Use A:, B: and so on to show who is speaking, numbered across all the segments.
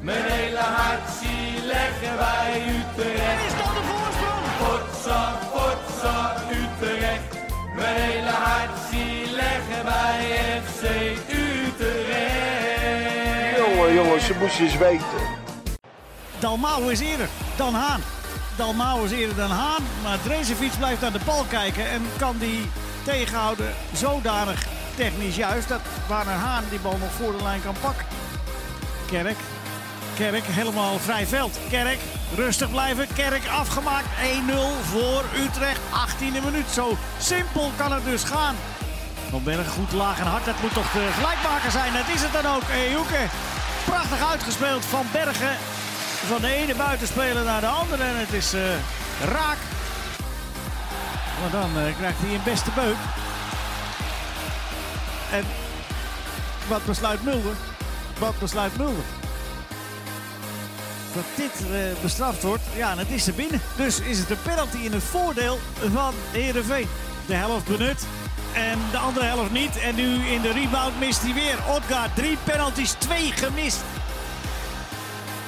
A: Mijn hele hart zie leggen wij Utrecht.
B: Is dat de voorsprong?
A: Potsa, potsa, Utrecht. Mijn hele hart zie leggen wij FC Utrecht.
C: Jongen, jongen, ze moesten eens weten.
D: Dalmau is eerder dan Haan. Dalmau is eerder dan Haan, maar Drezefiets blijft naar de bal kijken en kan die tegenhouden zodanig technisch juist dat Warner Haan die bal nog voor de lijn kan pakken. Kerk, Kerk helemaal vrij veld. Kerk, rustig blijven. Kerk afgemaakt. 1-0 voor Utrecht, 18e minuut. Zo simpel kan het dus gaan. Van Berg goed laag en hard. Dat moet toch de gelijkmaker zijn. Dat is het dan ook. Ejuke, prachtig uitgespeeld van Bergen van de ene buitenspeler naar de andere en het is eh, raak. Maar dan eh, krijgt hij een beste beuk. En wat besluit Mulder? Wat besluit Mulder? Dat dit eh, bestraft wordt, ja, en het is er binnen. Dus is het een penalty in het voordeel van Heerenveen. De helft benut en de andere helft niet. En nu in de rebound mist hij weer. Odgaard, drie penalties, twee gemist.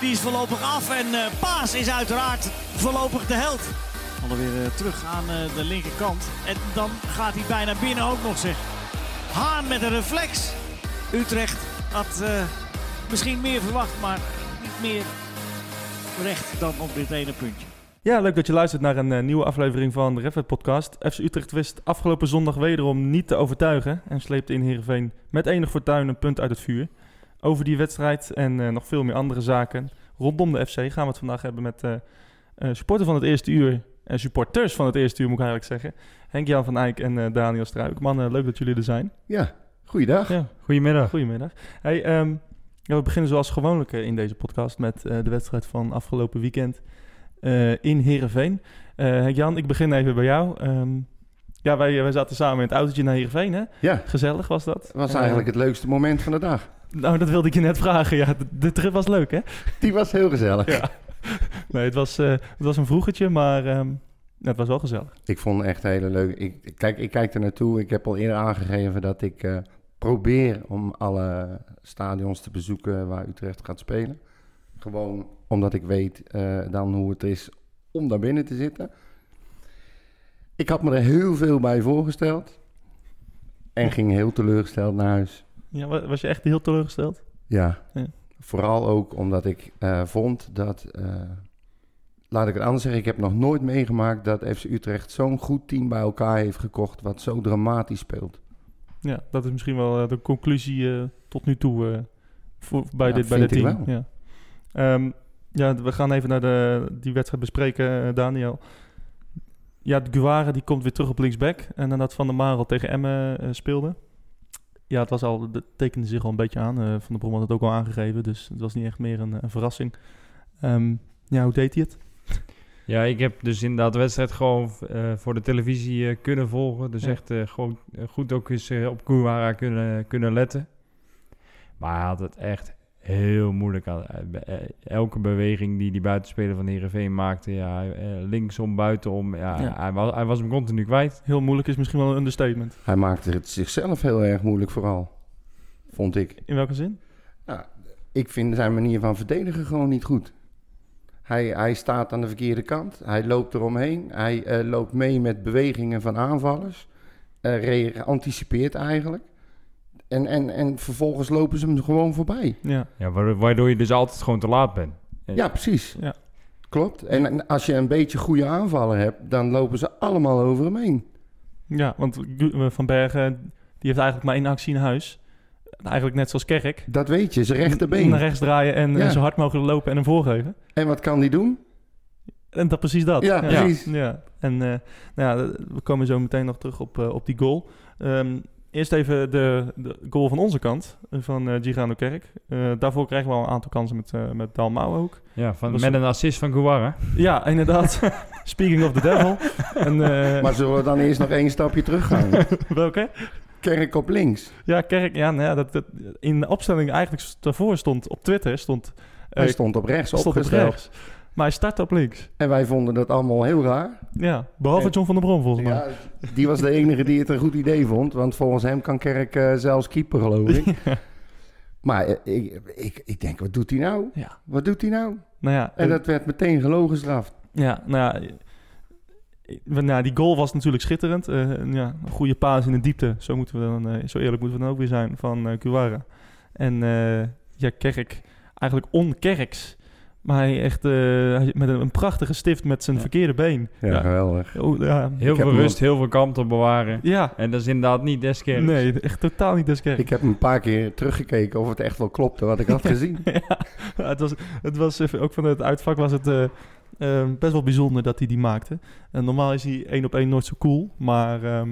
D: Die is voorlopig af en eh, Paas is uiteraard voorlopig de held. Alweer weer terug aan eh, de linkerkant. En dan gaat hij bijna binnen ook nog zeg. Haan met een reflex. Utrecht had eh, misschien meer verwacht, maar niet meer recht dan op dit ene puntje.
E: Ja, leuk dat je luistert naar een eh, nieuwe aflevering van de Refwet Podcast. FC Utrecht wist afgelopen zondag wederom niet te overtuigen en sleepte in Heerenveen met enig fortuin een punt uit het vuur. Over die wedstrijd en eh, nog veel meer andere zaken rondom de FC gaan we het vandaag hebben met eh eh, supporter van het eerste uur en supporters van het eerste uur moet ik eigenlijk zeggen. Henk-Jan van Eyck en eh, Daniel Struik. Man, leuk dat jullie er zijn.
F: Ja, goeiedag.
E: Ja,
G: Goedemiddag.
E: goedemiddag. Hey, ehm, ja, we beginnen zoals gewoonlijk eh, in deze podcast met eh, de wedstrijd van afgelopen weekend eh, in Heerenveen. Eh Jan, ik begin even bij jou. Ehm, ja, wij, wij zaten samen in het autootje naar Heerenveen, hè?
F: Ja,
E: Gezellig was dat.
F: was
E: Eh,
F: eigenlijk het leukste moment van de dag.
E: nou, dat wilde ik je net vragen. Ja, de, de trip was leuk, hè?
F: Die was heel gezellig.
E: Ja. Nee, het was, eh, het was een vroegertje, maar ehm, het was wel gezellig.
F: Ik vond het echt hele leuk. Ik, ik kijk, ik kijk er naartoe. Ik heb al eerder aangegeven dat ik eh, probeer om alle stadions te bezoeken waar Utrecht gaat spelen. Gewoon omdat ik weet eh, dan hoe het is om daar binnen te zitten. Ik had me er heel veel bij voorgesteld. En ging heel teleurgesteld naar huis.
E: Ja, wa- was je echt heel teleurgesteld?
F: Ja.
E: Ja.
F: Vooral ook omdat ik eh, vond dat. eh, laat ik het anders zeggen. Ik heb nog nooit meegemaakt dat FC Utrecht zo'n goed team bij elkaar heeft gekocht. Wat zo dramatisch speelt.
E: Ja, dat is misschien wel eh, de conclusie eh, tot nu toe eh, voor, bij,
F: Ja,
E: dit, bij dit
F: vind ik
E: team. Ja. Ehm, ja, d- we gaan even naar de, die wedstrijd bespreken, eh, Daniel. Ja, de Guare die komt weer terug op linksback. En nadat Van der Marel tegen Emmen eh, speelde. Ja, het was al, dat tekende zich al een beetje aan. Eh, Van der Brom had het ook al aangegeven, dus het was niet echt meer een, een verrassing. Ehm, ja, hoe deed hij het?
G: Ja, ik heb dus inderdaad de wedstrijd gewoon eh, voor de televisie eh, kunnen volgen. Dus
E: Ja.
G: echt eh, gewoon eh, goed ook eens eh, op Kouwara kunnen, kunnen letten. Maar hij had het echt heel moeilijk aan. eh, be- eh, elke beweging die die buitenspeler van Heerenveen maakte, ja, hij, eh, linksom, buitenom, ja,
E: Ja.
G: Hij, was, hij was hem continu kwijt.
E: Heel moeilijk is misschien wel een understatement.
F: Hij maakte het zichzelf heel erg moeilijk, vooral. Vond ik.
E: In welke zin?
F: Ik vind zijn manier van verdedigen gewoon niet goed. Hij, hij staat aan de verkeerde kant. Hij loopt eromheen. Hij eh, loopt mee met bewegingen van aanvallers. eh, rea- anticipeert eigenlijk. En, en, en vervolgens lopen ze hem gewoon voorbij.
E: Ja.
G: Ja, wa- waardoor je dus altijd gewoon te laat bent.
F: Ja, precies.
E: Ja.
F: Klopt. En- En als je een beetje goede aanvaller hebt, dan lopen ze allemaal over hem heen.
E: Ja, want Gu- eh, Van Bergen die heeft eigenlijk maar één actie in huis. Eigenlijk net zoals Kerk.
F: Dat weet je, zijn rechterbeen.
E: Naar rechts draaien en, en
F: Ja.
E: zo hard mogelijk lopen en hem voorgeven.
F: En wat kan die doen?
E: En dat precies dat.
F: Ja, precies.
E: Ja. En eh, nou ja, we komen zo meteen nog terug op, eh, op die goal. Ehm, eerst even de, de goal van onze kant, eh, van eh Girano Kerk. Eh, daarvoor krijgen we al een aantal kansen met, eh met Dalmau ook.
G: Ja, van,
E: Dat is-
G: met een assist van Kouwara.
E: Ja, inderdaad. Speaking of the devil. en, eh
F: Maar zullen we dan eerst nog één stapje teruggaan?
E: welke?
F: Kerk op links.
E: Ja, Kerk, ja, nou ja, dat, dat- in de opstelling eigenlijk st- daarvoor stond op Twitter stond, eh,
F: Hij stond op rechts
E: stond op
F: opgesteld.
E: rechts. Maar hij startte op links.
F: En wij vonden dat allemaal heel raar.
E: Ja, behalve
F: En-
E: John van der Brom volgens mij.
F: Ja, die was de enige die het een goed idee vond. Want volgens hem kan Kerk eh, zelfs keeper, geloof ik. Maar eh, ik, ik, ik denk, wat doet hij nou?
E: Ja.
F: Wat doet hij nou?
E: Nou ja,
F: En
E: eh,
F: dat werd meteen gelogen gestraft.
E: ja, nou ja, eh, want, nou, die goal was natuurlijk schitterend. Eh, en ja, een goede paas in de diepte. Zo, moeten we dan, eh, zo eerlijk moeten we dan ook weer zijn van eh Guevara. En eh, ja, Kerk, eigenlijk onkerks. Maar hij echt eh, hij- met een, een prachtige stift met zijn
G: Ja.
E: verkeerde been.
F: Ja, geweldig.
E: oh, ja.
G: Heel
F: Ik heb
G: veel
F: hem
G: rust, heel veel kalm te bewaren.
E: ja.
G: En dat is inderdaad niet des Kerks.
E: Nee, echt totaal niet des Kerks.
F: Ik heb een paar keer teruggekeken of het echt wel klopte wat ik had gezien.
E: ja, het was, het was even- ook van het uitvak was het eh, ehm, best wel bijzonder dat hij die maakte. En normaal is hij één op één nooit zo cool, maar, ehm,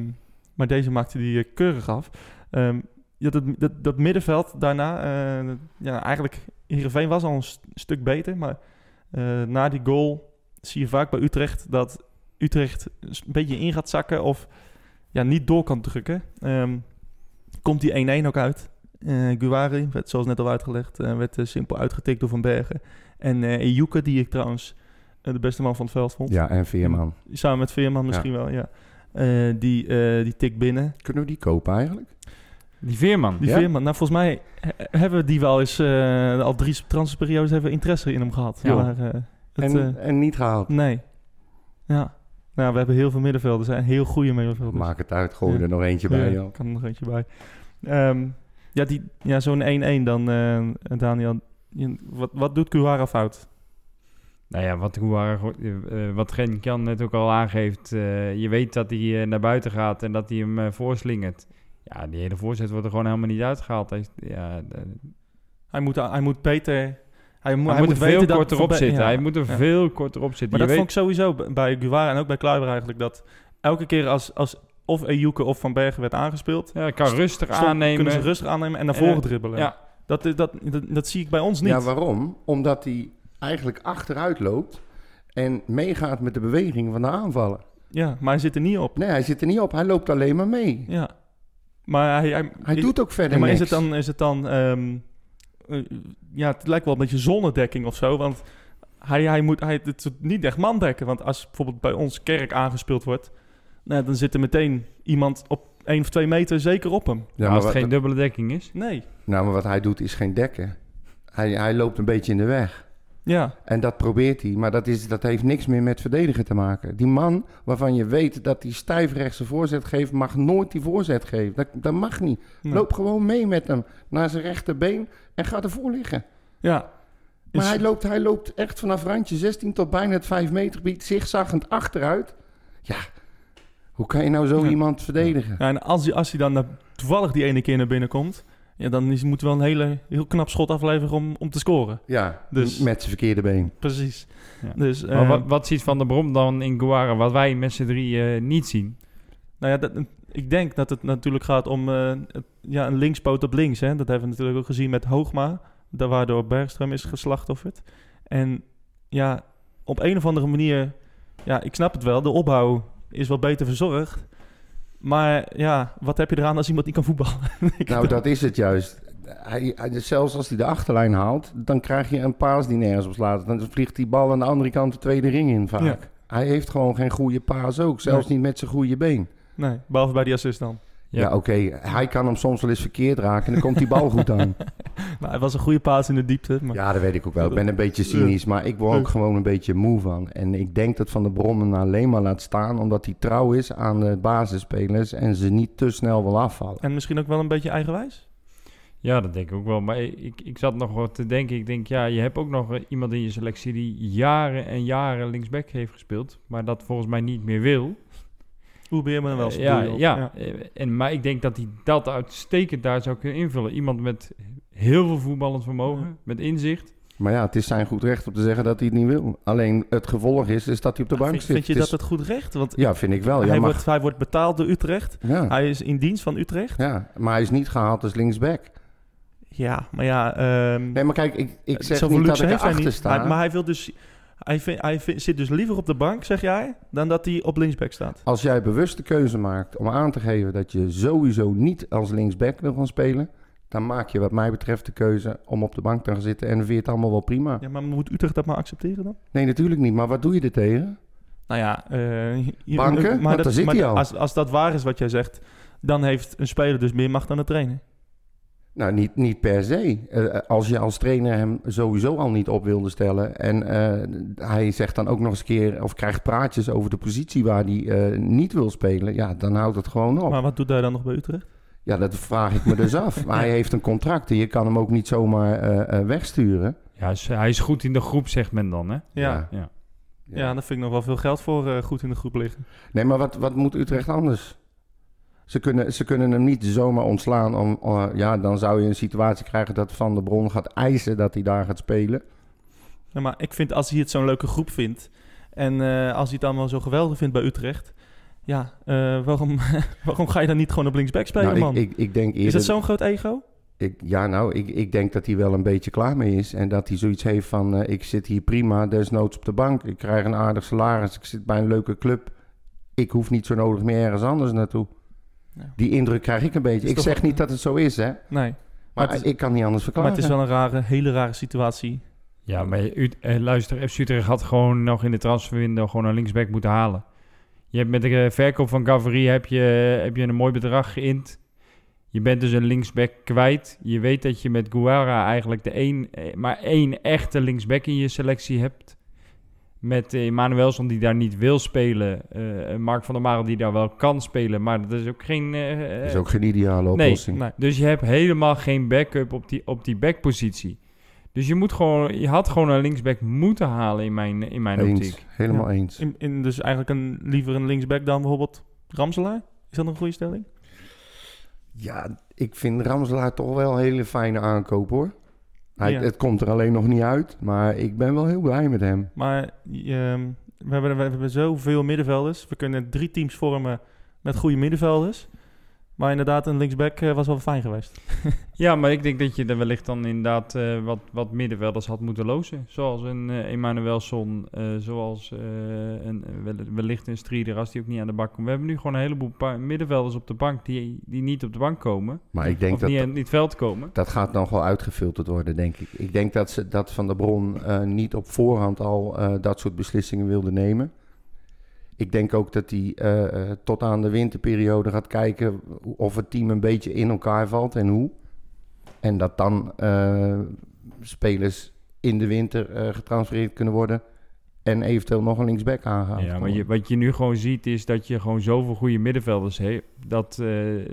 E: maar deze maakte hij eh, keurig af. Ehm, ja, dat, dat, dat middenveld daarna, eh, ja, eigenlijk Heerenveen was al een st- stuk beter, maar eh, na die goal zie je vaak bij Utrecht dat Utrecht een s- beetje in gaat zakken of ja, niet door kan drukken. Ehm, komt die 1-1 ook uit. Eh Guari werd zoals net al uitgelegd, eh, werd eh, simpel uitgetikt door Van Bergen. En eh Ejuke, die ik trouwens eh, de beste man van het veld vond.
F: Ja, en Veerman.
E: Samen met Veerman misschien wel, ja. Eh, die, eh die tikt binnen.
F: Kunnen we die kopen eigenlijk?
G: Die Veerman.
E: Die
F: Ja?
E: Veerman, nou volgens mij he- hebben we die wel eens, eh, al drie transferperiodes hebben we interesse in hem gehad.
G: Ja.
E: Maar, eh, het,
F: en,
E: eh,
F: en niet gehaald.
E: nee. Ja. Nou, we hebben heel veel middenvelders en heel goede middenvelders.
F: Maak het uit, gooi
E: Ja.
F: er nog eentje bij.
E: ja,
F: joh.
E: kan er nog eentje bij. Ehm, ja, die, ja, zo'n 1-1 dan, eh, Daniel. Je- Wat, wat doet Guara fout?
G: Nou ja, wat, hoe, waar- eh, eh, wat Gen Jan net ook al aangeeft. eh, je weet dat hij eh, naar buiten gaat en dat hij hem eh, voorslingert. Ja, die hele voorzet wordt er gewoon helemaal niet uitgehaald. Hij, ja, eh,
E: Hij moet, hij moet beter. Hij, moet,
G: hij, moet er
E: weten
G: veel
E: dat-
G: korter op
E: ja.
G: zitten. Hij moet er
E: Ja.
G: veel korter op zitten.
E: Maar dat
G: Je
E: vond ik sowieso b- bij Guara en ook bij Kluiber eigenlijk. Dat elke keer als, als of Ejuke of Van Bergen werd aangespeeld.
G: weet, ja, kan rustig
E: stond-
G: aannemen.
E: Kunnen ze rustig aannemen en naar
G: En,
E: voren
G: eh,
E: dribbelen.
G: ja.
E: Dat, dat, dat, dat zie ik bij ons niet.
F: Ja, waarom? Omdat hij eigenlijk achteruit loopt en meegaat met de beweging van de aanvaller.
E: Ja, maar hij zit er niet op.
F: Nee, hij zit er niet op. Hij loopt alleen maar mee.
E: Ja. Maar hij, hij,
F: Hij
E: i-
F: doet ook verder
E: ja, maar is het
F: niks.
E: dan. Is het dan ehm, eh, ja, het lijkt wel een beetje zonnedekking of zo. Want hij, hij moet hij, het is niet echt mandekken. Want als bijvoorbeeld bij ons kerk aangespeeld wordt. Nou, dan zit er meteen iemand op 1 of 2 meter zeker op hem.
F: Ja, maar
G: als
F: wat,
G: het geen dubbele dekking is.
E: Nee.
F: nou, maar wat hij doet is geen dekken. Hij, hij loopt een beetje in de weg.
E: Ja.
F: En dat probeert hij. Maar dat, is, dat heeft niks meer met verdedigen te maken. Die man waarvan je weet dat hij stijf rechts een voorzet geeft... mag nooit die voorzet geven. Dat, dat mag niet.
E: Nee.
F: Loop gewoon mee met hem naar zijn rechterbeen... en ga ervoor liggen.
E: Ja.
F: Maar
E: Is-
F: hij, loopt, hij loopt echt vanaf randje 16 tot bijna het 5 meter gebied zigzaggend achteruit. Ja, hoe kan je nou zo
E: Ja.
F: iemand verdedigen?
E: ja, en als hij, als hij dan naar- toevallig die ene keer naar binnen komt. Ja, dan is, moet wel een hele, heel knap schot afleveren om, om te scoren.
F: Ja,
E: Dus-
F: m- met zijn verkeerde been.
E: Precies.
G: Ja.
E: Dus, eh,
G: maar wat, wat ziet Van der Brom dan in Guara wat wij met z'n drie eh, niet zien?
E: Nou ja, dat, ik denk dat het natuurlijk gaat om eh, het- ja, een linkspoot op links. Hè? Dat hebben we natuurlijk ook gezien met Hoogma, daar waardoor Bergström is geslachtofferd. En ja, op een of andere manier, ja, ik snap het wel, de opbouw is wel beter verzorgd. Maar ja, wat heb je eraan als iemand niet kan voetballen? Ik
F: Nou,
E: denk-
F: dat is het juist. Hij, hij- zelfs als hij de achterlijn haalt, dan krijg je een paas die nergens op slaat. Dan vliegt die bal aan de andere kant de tweede ring in vaak.
E: Ja.
F: Hij heeft gewoon geen goede paas ook, zelfs niet met zijn goede been.
E: Nee, behalve bij die assist dan.
G: Ja.
F: Ja, oké, hij kan hem soms wel eens verkeerd raken en dan komt die bal goed aan.
E: Maar het was een goede paas in de diepte. Maar,
F: Ja, dat weet ik ook wel. Ik ben een beetje cynisch, maar ik word ook gewoon een beetje moe van. En ik denk dat Van der Brom hem alleen maar laat staan omdat hij trouw is aan de basisspelers en ze niet te snel wil afvallen.
E: En misschien ook wel een beetje eigenwijs.
G: Ja, dat denk ik ook wel. Maar ik, ik zat nog wat te denken. Ik denk, ja, je hebt ook nog eh, iemand in je selectie die jaren en jaren linksback heeft gespeeld. Maar dat volgens mij niet meer wil.
E: Hoe ben je me dan wel?
G: Eh,
E: zo
G: ja,
E: bedoel je?
G: ja. Eh, En, maar ik denk dat hij dat uitstekend daar zou kunnen invullen. Iemand met heel veel voetballend vermogen,
E: Ja.
G: met inzicht.
F: Maar ja, het is zijn goed recht om te zeggen dat hij het niet wil. Alleen het gevolg is, is dat hij op de
E: Maar
F: bank
E: Ah, vind,
F: zit.
E: vind je
F: Het
E: dat
F: is-
E: het goed recht? Want
F: Ja, vind ik wel. Ja,
E: hij,
F: maar...
E: wordt, hij wordt betaald door Utrecht.
F: Ja,
E: Hij is in dienst van Utrecht.
F: ja, maar hij is niet gehaald als linksback.
E: Ja, maar ja... ehm
F: Nee, maar kijk, ik, ik zeg
E: zoveel
F: niet dat
E: luxe
F: ik
E: heeft hij
F: erachter
E: niet.
F: sta.
E: Maar, maar hij wil dus... Hij, vind- hij vind- zit dus liever op de bank, zeg jij, dan dat hij op linksback staat.
F: Als jij bewust de keuze maakt om aan te geven dat je sowieso niet als linksback wil gaan spelen, dan maak je wat mij betreft de keuze om op de bank te gaan zitten en dan vind je het allemaal wel prima.
E: Ja, maar moet Utrecht dat maar accepteren dan?
F: Nee, natuurlijk niet, maar wat doe je er tegen?
E: Nou ja... eh, hier-
F: Banken?
E: eh,
F: Want daar zit
E: maar
F: hij al.
E: Als, als dat waar is wat jij zegt, dan heeft een speler dus meer macht dan de trainer.
F: Nou, niet, niet per se. Eh, als je als trainer hem sowieso al niet op wilde stellen. En eh, hij zegt dan ook nog eens een keer, of krijgt praatjes over de positie waar hij eh, niet wil spelen. Ja, dan houdt het gewoon op.
E: Maar wat doet hij dan nog bij Utrecht?
F: Ja, dat vraag ik me dus af. Maar hij heeft een contract en je kan hem ook niet zomaar eh, eh, wegsturen.
G: Ja, is- hij is goed in de groep, zegt men dan, hè?
E: Ja,
G: Ja.
E: ja. daar vind ik nog wel veel geld voor eh, goed in de groep liggen.
F: Nee, maar wat, wat moet Utrecht anders? Ze kunnen, ze kunnen hem niet zomaar ontslaan. Om, eh, ja, dan zou je een situatie krijgen dat Van der Bron gaat eisen dat hij daar gaat spelen.
E: Ja, Nou, maar ik vind als hij het zo'n leuke groep vindt en eh, als hij het allemaal zo geweldig vindt bij Utrecht, ja, eh, waarom, waarom ga je dan niet gewoon op linksback spelen,
F: nou,
E: man?
F: ik, ik, ik denk eerder,
E: is dat zo'n groot ego?
F: Ik, ja, nou, ik, ik denk dat hij wel een beetje klaar mee is. En dat hij zoiets heeft van, eh, ik zit hier prima, desnoods op de bank. Ik krijg een aardig salaris, ik zit bij een leuke club. Ik hoef niet zo nodig meer ergens anders naartoe.
E: Ja.
F: Die indruk krijg ik een beetje.
E: Is
F: Ik
E: toch-
F: zeg niet dat het zo is, hè.
E: Nee.
F: Maar,
E: Maar het is-
F: ik kan niet anders
E: Maar
F: verklaren.
E: het is wel een rare, hele rare situatie.
G: Ja, maar Ut- eh, luister, FC Utrecht had gewoon nog in de transferwindow gewoon een linksback moeten halen. Je hebt met de eh, verkoop van Gavri heb je, eh, heb je een mooi bedrag geïnd. Je bent dus een linksback kwijt. Je weet dat je met Guara eigenlijk de één, eh, maar één echte linksback in je selectie hebt. Met eh, Emanuelson die daar niet wil spelen. eh, Mark van der Marel die daar wel kan spelen. Maar dat is ook geen... eh,
F: Dat is ook geen ideale oplossing.
E: Nee.
G: dus je hebt helemaal geen backup op die, op die backpositie. Dus je, moet gewoon, je had gewoon een linksback moeten halen in mijn, in mijn
F: eens.
G: optiek.
F: Helemaal eens.
E: In, in dus eigenlijk een, liever een linksback dan bijvoorbeeld Ramselaar? Is dat een goede stelling?
F: Ja, ik vind Ramselaar toch wel een hele fijne aankoop, hoor. Hij,
E: Ja.
F: Het komt er alleen nog niet uit, maar ik ben wel heel blij met hem.
E: Maar ehm, we, hebben, we hebben zoveel middenvelders. We kunnen drie teams vormen met goede middenvelders. Maar inderdaad, een linksback eh, was wel fijn geweest.
G: Ja, maar ik denk dat je er wellicht dan inderdaad eh, wat, wat middenvelders had moeten lozen. Zoals een eh Emanuelson, eh, zoals eh, een, wel- wellicht een Strieder als die ook niet aan de bak komt. We hebben nu gewoon een heleboel pa- middenvelders op de bank die, die niet op de bank komen.
F: Maar ik denk
G: of
F: dat
G: niet, aan- niet het veld komen.
F: dat gaat nog wel uitgefilterd worden, denk ik. Ik denk dat, ze, dat Van der Bron eh, niet op voorhand al eh, dat soort beslissingen wilde nemen. Ik denk ook dat hij eh, eh, tot aan de winterperiode gaat kijken of het team een beetje in elkaar valt en hoe. En dat dan eh, spelers in de winter eh, getransfereerd kunnen worden en eventueel nog een linksback aangehaald
G: Ja, maar
F: worden.
G: je, wat je nu gewoon ziet is dat je gewoon zoveel goede middenvelders hebt. Dat eh,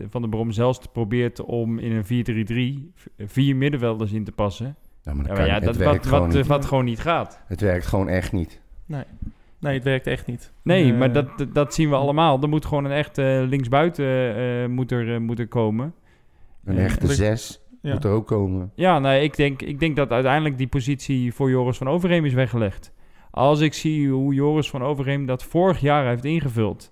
G: Van der Brom zelfs probeert om in een 4-3-3 v- vier middenvelders in te passen.
F: Ja,
G: Ja,
F: maar dat
G: maar
F: kan-
G: ja,
F: het
G: dat,
F: werkt
G: wat,
F: gewoon
G: wat,
F: niet.
G: eh, wat gewoon niet gaat.
F: Het werkt gewoon echt niet.
E: Nee, het werkt echt niet.
G: Nee,
E: Eh,
G: maar dat, dat- dat zien we allemaal. Er moet gewoon een echt eh, linksbuiten eh, moet, er, eh, moet er komen.
F: Een
G: Eh,
F: echte
E: dat-
F: zes
E: ja.
F: moet er ook komen.
G: Ja, nou, ik denk, ik denk dat uiteindelijk die positie voor Joris van Overheem is weggelegd. Als ik zie hoe Joris van Overheem dat vorig jaar heeft ingevuld.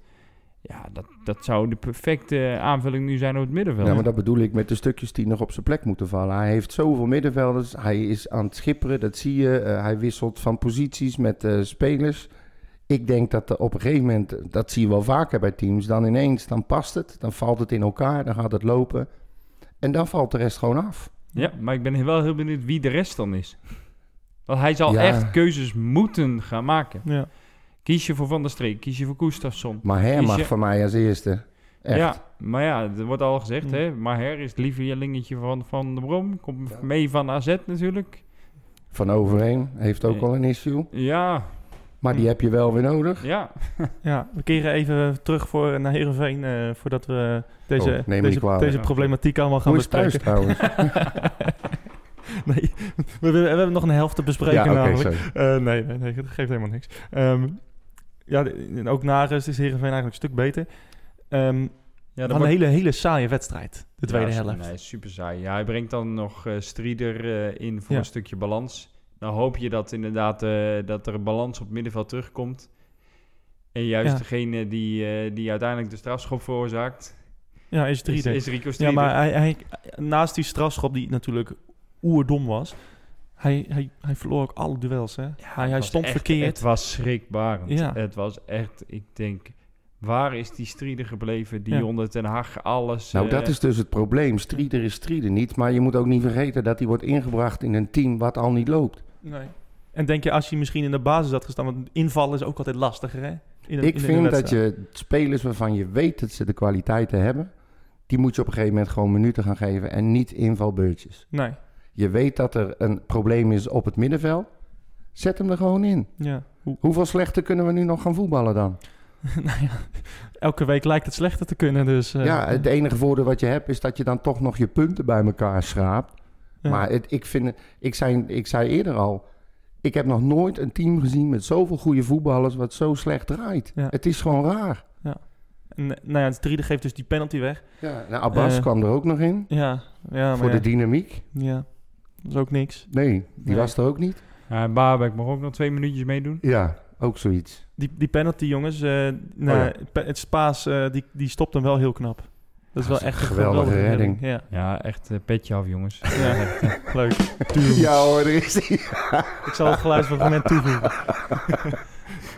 G: Ja, dat, dat zou de perfecte eh, aanvulling nu zijn op het middenveld.
F: Ja, maar dat bedoel ik met de stukjes die nog op zijn plek moeten vallen. Hij heeft zoveel middenvelders. Hij is aan het schipperen, dat zie je. Eh, hij wisselt van posities met eh, spelers. Ik denk dat er op een gegeven moment, dat zie je wel vaker bij teams, dan ineens, dan past het. Dan valt het in elkaar, dan gaat het lopen. En dan valt de rest gewoon af.
G: Ja, maar ik ben wel heel benieuwd wie de rest dan is. Want hij zal
F: Ja.
G: echt keuzes moeten gaan maken.
E: Ja.
G: Kies je voor Van der Streek, kies je voor Gustafsson.
F: Maar Her
G: Is
F: mag
G: je-
F: van mij als eerste. Echt.
G: Ja, maar ja, er wordt al gezegd,
E: Mm.
G: hè. Maar her is het lievelingetje van, van de Brom. Komt mee van AZ natuurlijk.
F: Van overheen heeft ook
G: Ja.
F: wel een issue.
G: Ja,
F: Maar die heb je wel weer nodig.
G: ja.
E: ja, we keren even terug voor, naar Heerenveen... eh, voordat we
F: Oh,
E: deze,
F: neem me niet
E: deze,
F: kwalijk.
E: deze problematiek allemaal gaan
F: Hoe is het thuis
E: bespreken.
F: trouwens?
E: nee, we, willen- we hebben nog een helft te bespreken namelijk.
F: sorry.
E: Eh, nee, nee, nee, dat geeft helemaal niks. Ehm, ja, de- en ook na rust is Heerenveen eigenlijk een stuk beter. Ehm
G: ja
E: Van een hele, hele saaie wedstrijd, de tweede
G: ja,
E: helft.
G: Nee, super saai. Ja, hij brengt dan nog eh Strieder eh, in voor
E: Ja.
G: een stukje balans. Dan hoop je dat inderdaad eh, dat er een balans op het middenveld terugkomt. En juist
E: Ja.
G: degene die, eh, die uiteindelijk de strafschop veroorzaakt,
E: Ja, is drie.
G: is, is Rico
E: ja,
G: Strieder.
E: maar hij, hij, naast die strafschop die natuurlijk oerdom was, hij, hij, hij verloor ook alle duels. Hè? hij hij
G: Het was
E: stond
G: echt-
E: verkeerd.
G: Het was schrikbarend.
E: Ja.
G: Het was echt, ik denk, waar is die Strieder gebleven die
E: Ja.
G: onder Ten Hag alles...
F: Nou,
G: eh,
F: dat is dus het probleem. Strieder is strieder niet. Maar je moet ook niet vergeten dat hij wordt ingebracht in een team wat al niet loopt.
E: Nee. En denk je, als je misschien in de basis had gestaan, want invallen is ook altijd lastiger. Hè? In een- in
F: Ik
E: een
F: vind dat
E: wedstrijd.
F: je spelers waarvan je weet dat ze de kwaliteiten hebben, die moet je op een gegeven moment gewoon minuten gaan geven en niet invalbeurtjes.
E: Nee,
F: Je weet dat er een probleem is op het middenveld. Zet hem er gewoon in.
E: ja. Hoe-
F: Hoeveel slechter kunnen we nu nog gaan voetballen dan?
E: nou ja, elke week lijkt het slechter te kunnen, dus... eh,
F: ja, het enige voordeel wat je hebt is dat je dan toch nog je punten bij elkaar schraapt.
E: ja.
F: Maar het, ik, vind, het- ik, zei, ik zei eerder al, ik heb nog nooit een team gezien met zoveel goede voetballers wat zo slecht draait.
E: Ja.
F: Het is gewoon raar.
E: En, eh, nou ja, het driede geeft dus die penalty weg.
F: Ja, nou, Abbas
E: Eh,
F: kwam er ook nog in
E: Ja, ja,
F: voor
E: maar ja,
F: de dynamiek.
E: ja, dat is ook niks.
F: Nee, die
E: Nee.
F: was er ook niet.
G: Ja, en Baarbek mag ook nog twee minuutjes meedoen.
F: Ja, ook zoiets.
E: Die, die penalty, jongens, eh nou,
F: Oh ja.
E: pe- het Spaas, eh, die, die stopt hem wel heel knap. Dat is wel echt een
F: geweldige redding.
E: Ja,
G: Ja, echt eh, petje af, jongens.
E: ja. leuk.
F: Ja hoor, er is die.
E: Ik zal het geluid van het moment toevoegen.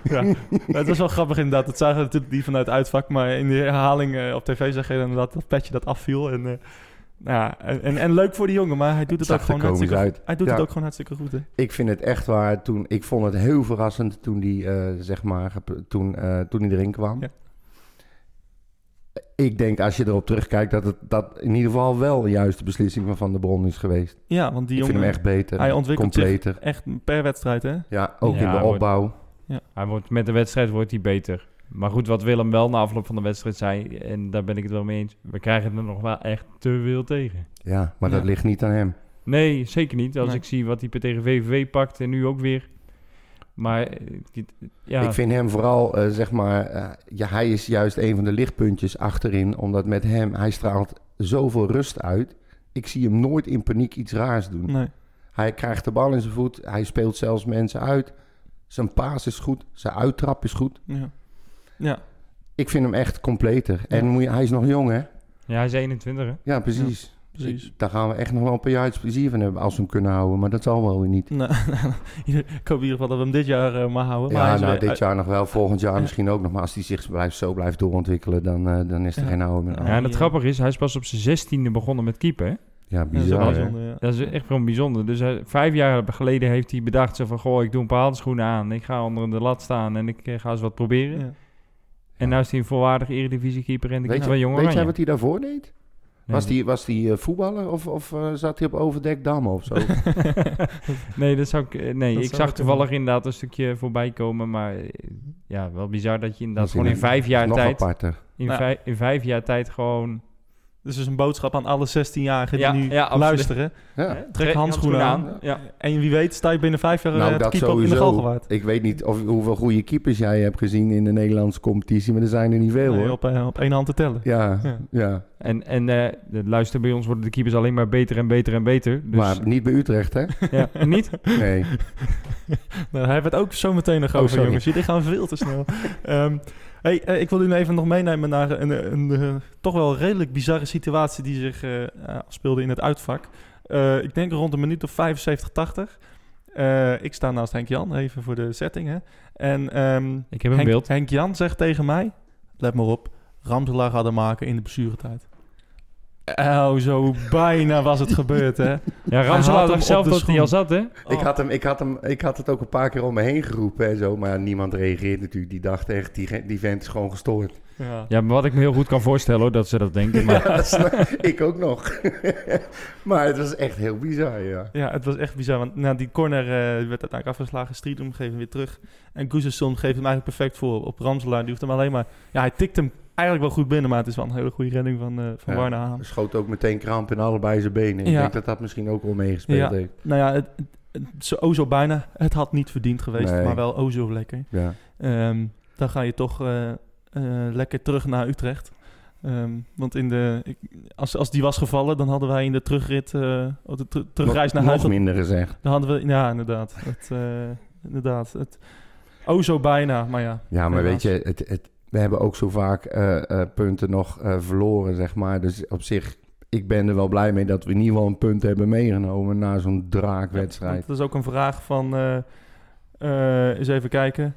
E: ja. Maar het was wel grappig inderdaad. Dat zagen we natuurlijk die vanuit het uitvak. Maar in de herhaling eh, op tv zag je inderdaad dat petje dat afviel. En, eh, nou ja, en, en, en leuk voor die jongen, maar hij doet het,
F: zag
E: ook
F: er
E: gewoon
F: komisch
E: hartstikke
F: uit.
E: Hij doet
F: Ja.
E: het ook gewoon hartstikke goed. Hè?
F: Ik vind het echt waar. Toen, ik vond het heel verrassend toen die, eh, zeg maar, gep- toen, eh, toen die erin kwam.
E: Ja.
F: Ik denk als je erop terugkijkt dat het dat in ieder geval wel de juiste beslissing van Van der Bron is geweest.
E: Ja, want die
F: ik vind
E: jongen
F: hem Mm. echt beter,
E: hij ontwikkelt zich.
F: completer.
E: echt per wedstrijd, hè?
F: Ja, ook
G: Ja,
F: in
G: hij
F: de
G: wordt-
F: opbouw.
G: Hij wordt, met de wedstrijd wordt hij beter. Maar goed, wat Willem wel na afloop van de wedstrijd zei, en daar ben ik het wel mee eens, we krijgen er nog wel echt te veel tegen.
F: Ja, maar dat
E: Ja.
F: ligt niet aan hem.
G: Nee, zeker niet. Als
E: Nee.
G: ik zie wat hij tegen VVV pakt en nu ook weer. Maar eh, dit- ja,
F: Ik vind hem vooral, eh, zeg maar, eh, ja, hij is juist een van de lichtpuntjes achterin. Omdat met hem, hij straalt zoveel rust uit. Ik zie hem nooit in paniek iets raars doen.
E: Nee.
F: Hij krijgt de bal in zijn voet. Hij speelt zelfs mensen uit. Zijn paas is goed. Zijn uittrap is goed.
E: Ja. ja.
F: Ik vind hem echt completer. En
E: Ja.
F: moet je- hij is nog jong, hè?
G: ja, hij is 21 hè.
F: Ja, precies.
E: Precies.
F: Ik- daar gaan we echt nog wel een paar jaar het plezier van hebben als we hem kunnen houden. Maar dat zal wel weer niet.
E: Nou, ik hoop in ieder geval dat we hem dit jaar eh, maar houden. maar hij
F: ja,
E: is
F: nou,
E: weer-
F: dit jaar nog wel. Volgend jaar
E: Ja.
F: misschien ook nog. Maar als hij zich blijft, zo blijft doorontwikkelen, dan, eh, dan is er
E: Ja.
F: geen houden meer aan.
G: Ja,
E: Ja,
G: en het
E: ja.
G: grappige is, hij is pas op zijn 16e begonnen met keeper. hè.
F: Ja,
E: Ja, dat is wel
F: bizar. hè?
E: bijzonder, ja.
G: Dat is echt gewoon bijzonder. Dus hij- vijf jaar geleden heeft hij bedacht zo van, goh, ik doe een paar handschoenen aan. Ik ga onder de lat staan en ik eh, ga eens wat proberen.
E: Ja.
G: En nou is hij een volwaardig eredivisiekeeper en de
F: Weet,
G: keeper van
F: je,
G: Jong
F: weet jij
G: Oranje.
F: wat hij daarvoor deed?
G: Nee.
F: Was die, was die eh, voetballer of, of eh, zat hij op Overdek Dam of zo?
G: nee, dat zou ik, eh, nee
E: Dat
G: ik
E: zou
G: zag
E: ik
G: toevallig
E: doen.
G: inderdaad een stukje voorbij komen. Maar eh, ja, wel bizar dat je inderdaad
F: Dat is
G: gewoon in
F: inderdaad
G: vijf jaar
F: nog
G: tijd...
F: aparter.
G: In,
E: Nou.
G: vijf, in vijf jaar tijd gewoon...
E: Dus is een boodschap aan alle 16-jarigen
G: Ja,
E: die nu
G: ja, absoluut.
E: luisteren.
F: Ja.
G: hè,
E: Trek handschoenen
F: aan.
G: Ja.
E: En wie weet sta je binnen vijf jaar
F: Nou,
E: eh, te
F: dat
E: keeper in de
F: sowieso.
E: galgenwaard.
F: Ik weet niet of, hoeveel goede keepers jij hebt gezien in de Nederlandse competitie, maar er zijn er niet veel
E: Nee,
F: hoor.
E: op, eh, op één hand te tellen.
F: Ja,
E: Ja.
F: ja.
G: En, en eh, de- luister, bij ons worden de keepers alleen maar beter en beter en beter. Dus
F: maar niet bij Utrecht, hè?
G: ja, niet?
F: Nee.
E: Nou, hij werd ook zo meteen nog
F: Oh,
E: over,
F: sorry.
E: jongens. Jullie gaan veel te snel. Ehm, hey, eh, ik wil u even nog meenemen naar een, een, eh, toch wel redelijk bizarre situatie die zich eh, afspeelde in het uitvak. Eh, ik denk rond een minuut of 75, 80. Eh, ik sta naast Henk Jan, even voor de setting. Hè. En ehm,
G: Ik heb een
E: Henk-
G: beeld.
E: Henk Jan zegt tegen mij: Let maar op, Ramselaar hadden maken in de blessuretijd. Oh, zo bijna was het gebeurd, hè? Oh,
G: Ja,
E: Hij
G: Ramselaar
E: had hem
G: dacht zelf
E: op de
G: dat hij
E: schoen.
G: al zat, hè?
F: Ik, had hem, ik, had hem, ik had het ook een paar keer om me heen geroepen en zo, maar niemand reageert natuurlijk. Die dacht echt, die, ge- die vent is gewoon gestoord.
E: Ja.
G: Ja, maar wat ik me heel goed kan voorstellen, hoor, dat ze dat denken. Maar
F: Ja, dat snap- ik ook nog. maar het was echt heel bizar, ja.
E: Ja, het was echt bizar. Want nou, die corner eh, werd uiteindelijk afgeslagen. Striedom geeft hem weer terug. En Gustafsson geeft hem eigenlijk perfect voor op Ramselaar. Die hoeft hem alleen maar... Ja, hij tikt hem eigenlijk wel goed binnen. Maar het is wel een hele goede redding van, eh van
F: Ja.
E: Warner Haan.
F: Schoot ook meteen kramp in allebei zijn benen. Ik
E: Ja.
F: denk dat dat misschien ook wel meegespeeld
E: Ja.
F: heeft.
E: Nou ja, het, het, het- zo, oh zo bijna. Het had niet verdiend geweest,
F: Nee.
E: maar wel oh zo lekker.
F: Ja.
E: Ehm, dan ga je toch eh, eh, lekker terug naar Utrecht. Ehm, want in de, ik- als, als die was gevallen, dan hadden wij in de terugrit, eh, of de ter- terugreis naar
F: nog,
E: huis,
F: nog minder gezegd.
E: Dan hadden we, ja, inderdaad. Het, eh, inderdaad. Het, oh, zo bijna, maar ja.
F: Ja, maar
E: Helaas.
F: weet je, het, het, we hebben ook zo vaak eh, eh, punten nog eh, verloren, zeg maar. Dus op zich, ik ben er wel blij mee dat we in ieder geval een punt hebben meegenomen na zo'n
E: Ja,
F: draakwedstrijd.
E: want dat is ook een vraag van, eh, eh, eens even kijken.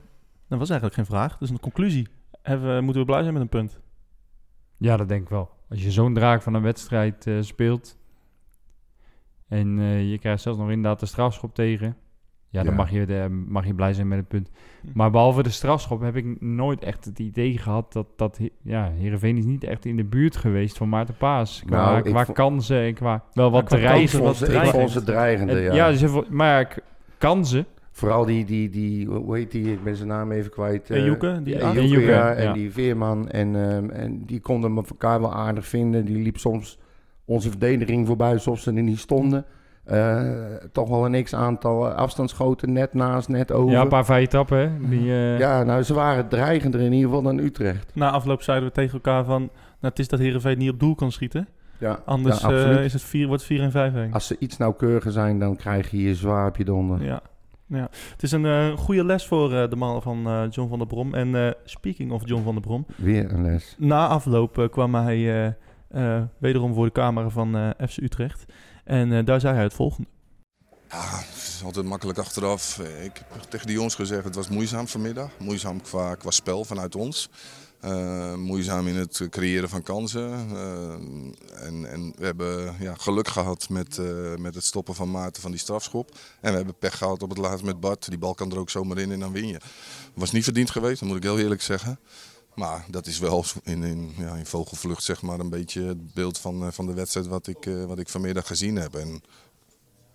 E: Dat was eigenlijk geen vraag, dat is een conclusie. Hebben we- moeten we blij zijn met een punt?
G: Ja, dat denk ik wel. Als je zo'n draak van een wedstrijd eh, speelt en eh, je krijgt zelfs nog inderdaad de strafschop tegen. Ja, dan
F: Ja.
G: Mag, je, de- mag je blij zijn met het punt.
E: Hm.
G: Maar behalve de strafschop heb ik nooit echt het idee gehad dat, dat He- ja, Heerenveen is niet echt in de buurt geweest van Maarten Paas. Qua,
F: Nou, ik
G: qua
F: vo-
G: kansen en qua wel wat
E: qua
F: Ik
E: kansen,
G: dreigend.
F: vond
E: wat
F: ze, ik
E: dreigend.
F: vond ze dreigende, ja.
G: Ja, ja dus even- maar k- kansen.
F: Vooral die, die, die, hoe heet die, ik ben zijn naam even kwijt. eh,
E: en Joeken, die
F: Ja,
E: acht.
G: en
F: Joeken,
G: Joeken,
F: ja, en
G: ja.
F: die Veerman. En, ehm, en die konden me elkaar wel aardig vinden. Die liep soms onze verdediging voorbij, alsof ze er niet stonden. Eh, toch wel een x-aantal afstandsschoten, net naast, net over.
G: Ja,
F: Ja,
G: een paar vrije trappen. hè, Die, eh,
F: nou, ze waren dreigender in ieder geval dan Utrecht.
E: Na afloop zeiden we tegen elkaar van... Nou, het is dat Heerenveen niet op doel kan schieten.
F: Ja,
E: Anders
F: ja, absoluut.
E: eh, is het vier, wordt 4 en 5 heen.
F: Als ze iets nauwkeuriger zijn, dan krijg je hier zwaar op je donder.
E: Ja. ja. Het is een eh, goede les voor eh, de mannen van eh, John van der Brom. En eh, speaking of John van der Brom...
F: Weer een les.
E: Na afloop eh, kwam hij eh, eh, wederom voor de camera van eh, FC Utrecht. En eh, daar zei hij het volgende.
B: Ja, het is altijd makkelijk achteraf. Eh, Ik heb tegen de jongens gezegd, het was moeizaam vanmiddag. Moeizaam qua, qua spel vanuit ons. Eh, moeizaam in het creëren van kansen. Eh, en, en we hebben ja, geluk gehad met, eh, met het stoppen van Maarten van die strafschop. En we hebben pech gehad op het laatst met Bart. Die bal kan er ook zomaar in en dan win je. Was niet verdiend geweest, dat moet ik heel eerlijk zeggen. Maar dat is wel in, in, ja, in vogelvlucht zeg maar, een beetje het beeld van, eh, van de wedstrijd wat ik, eh, wat ik vanmiddag gezien heb. En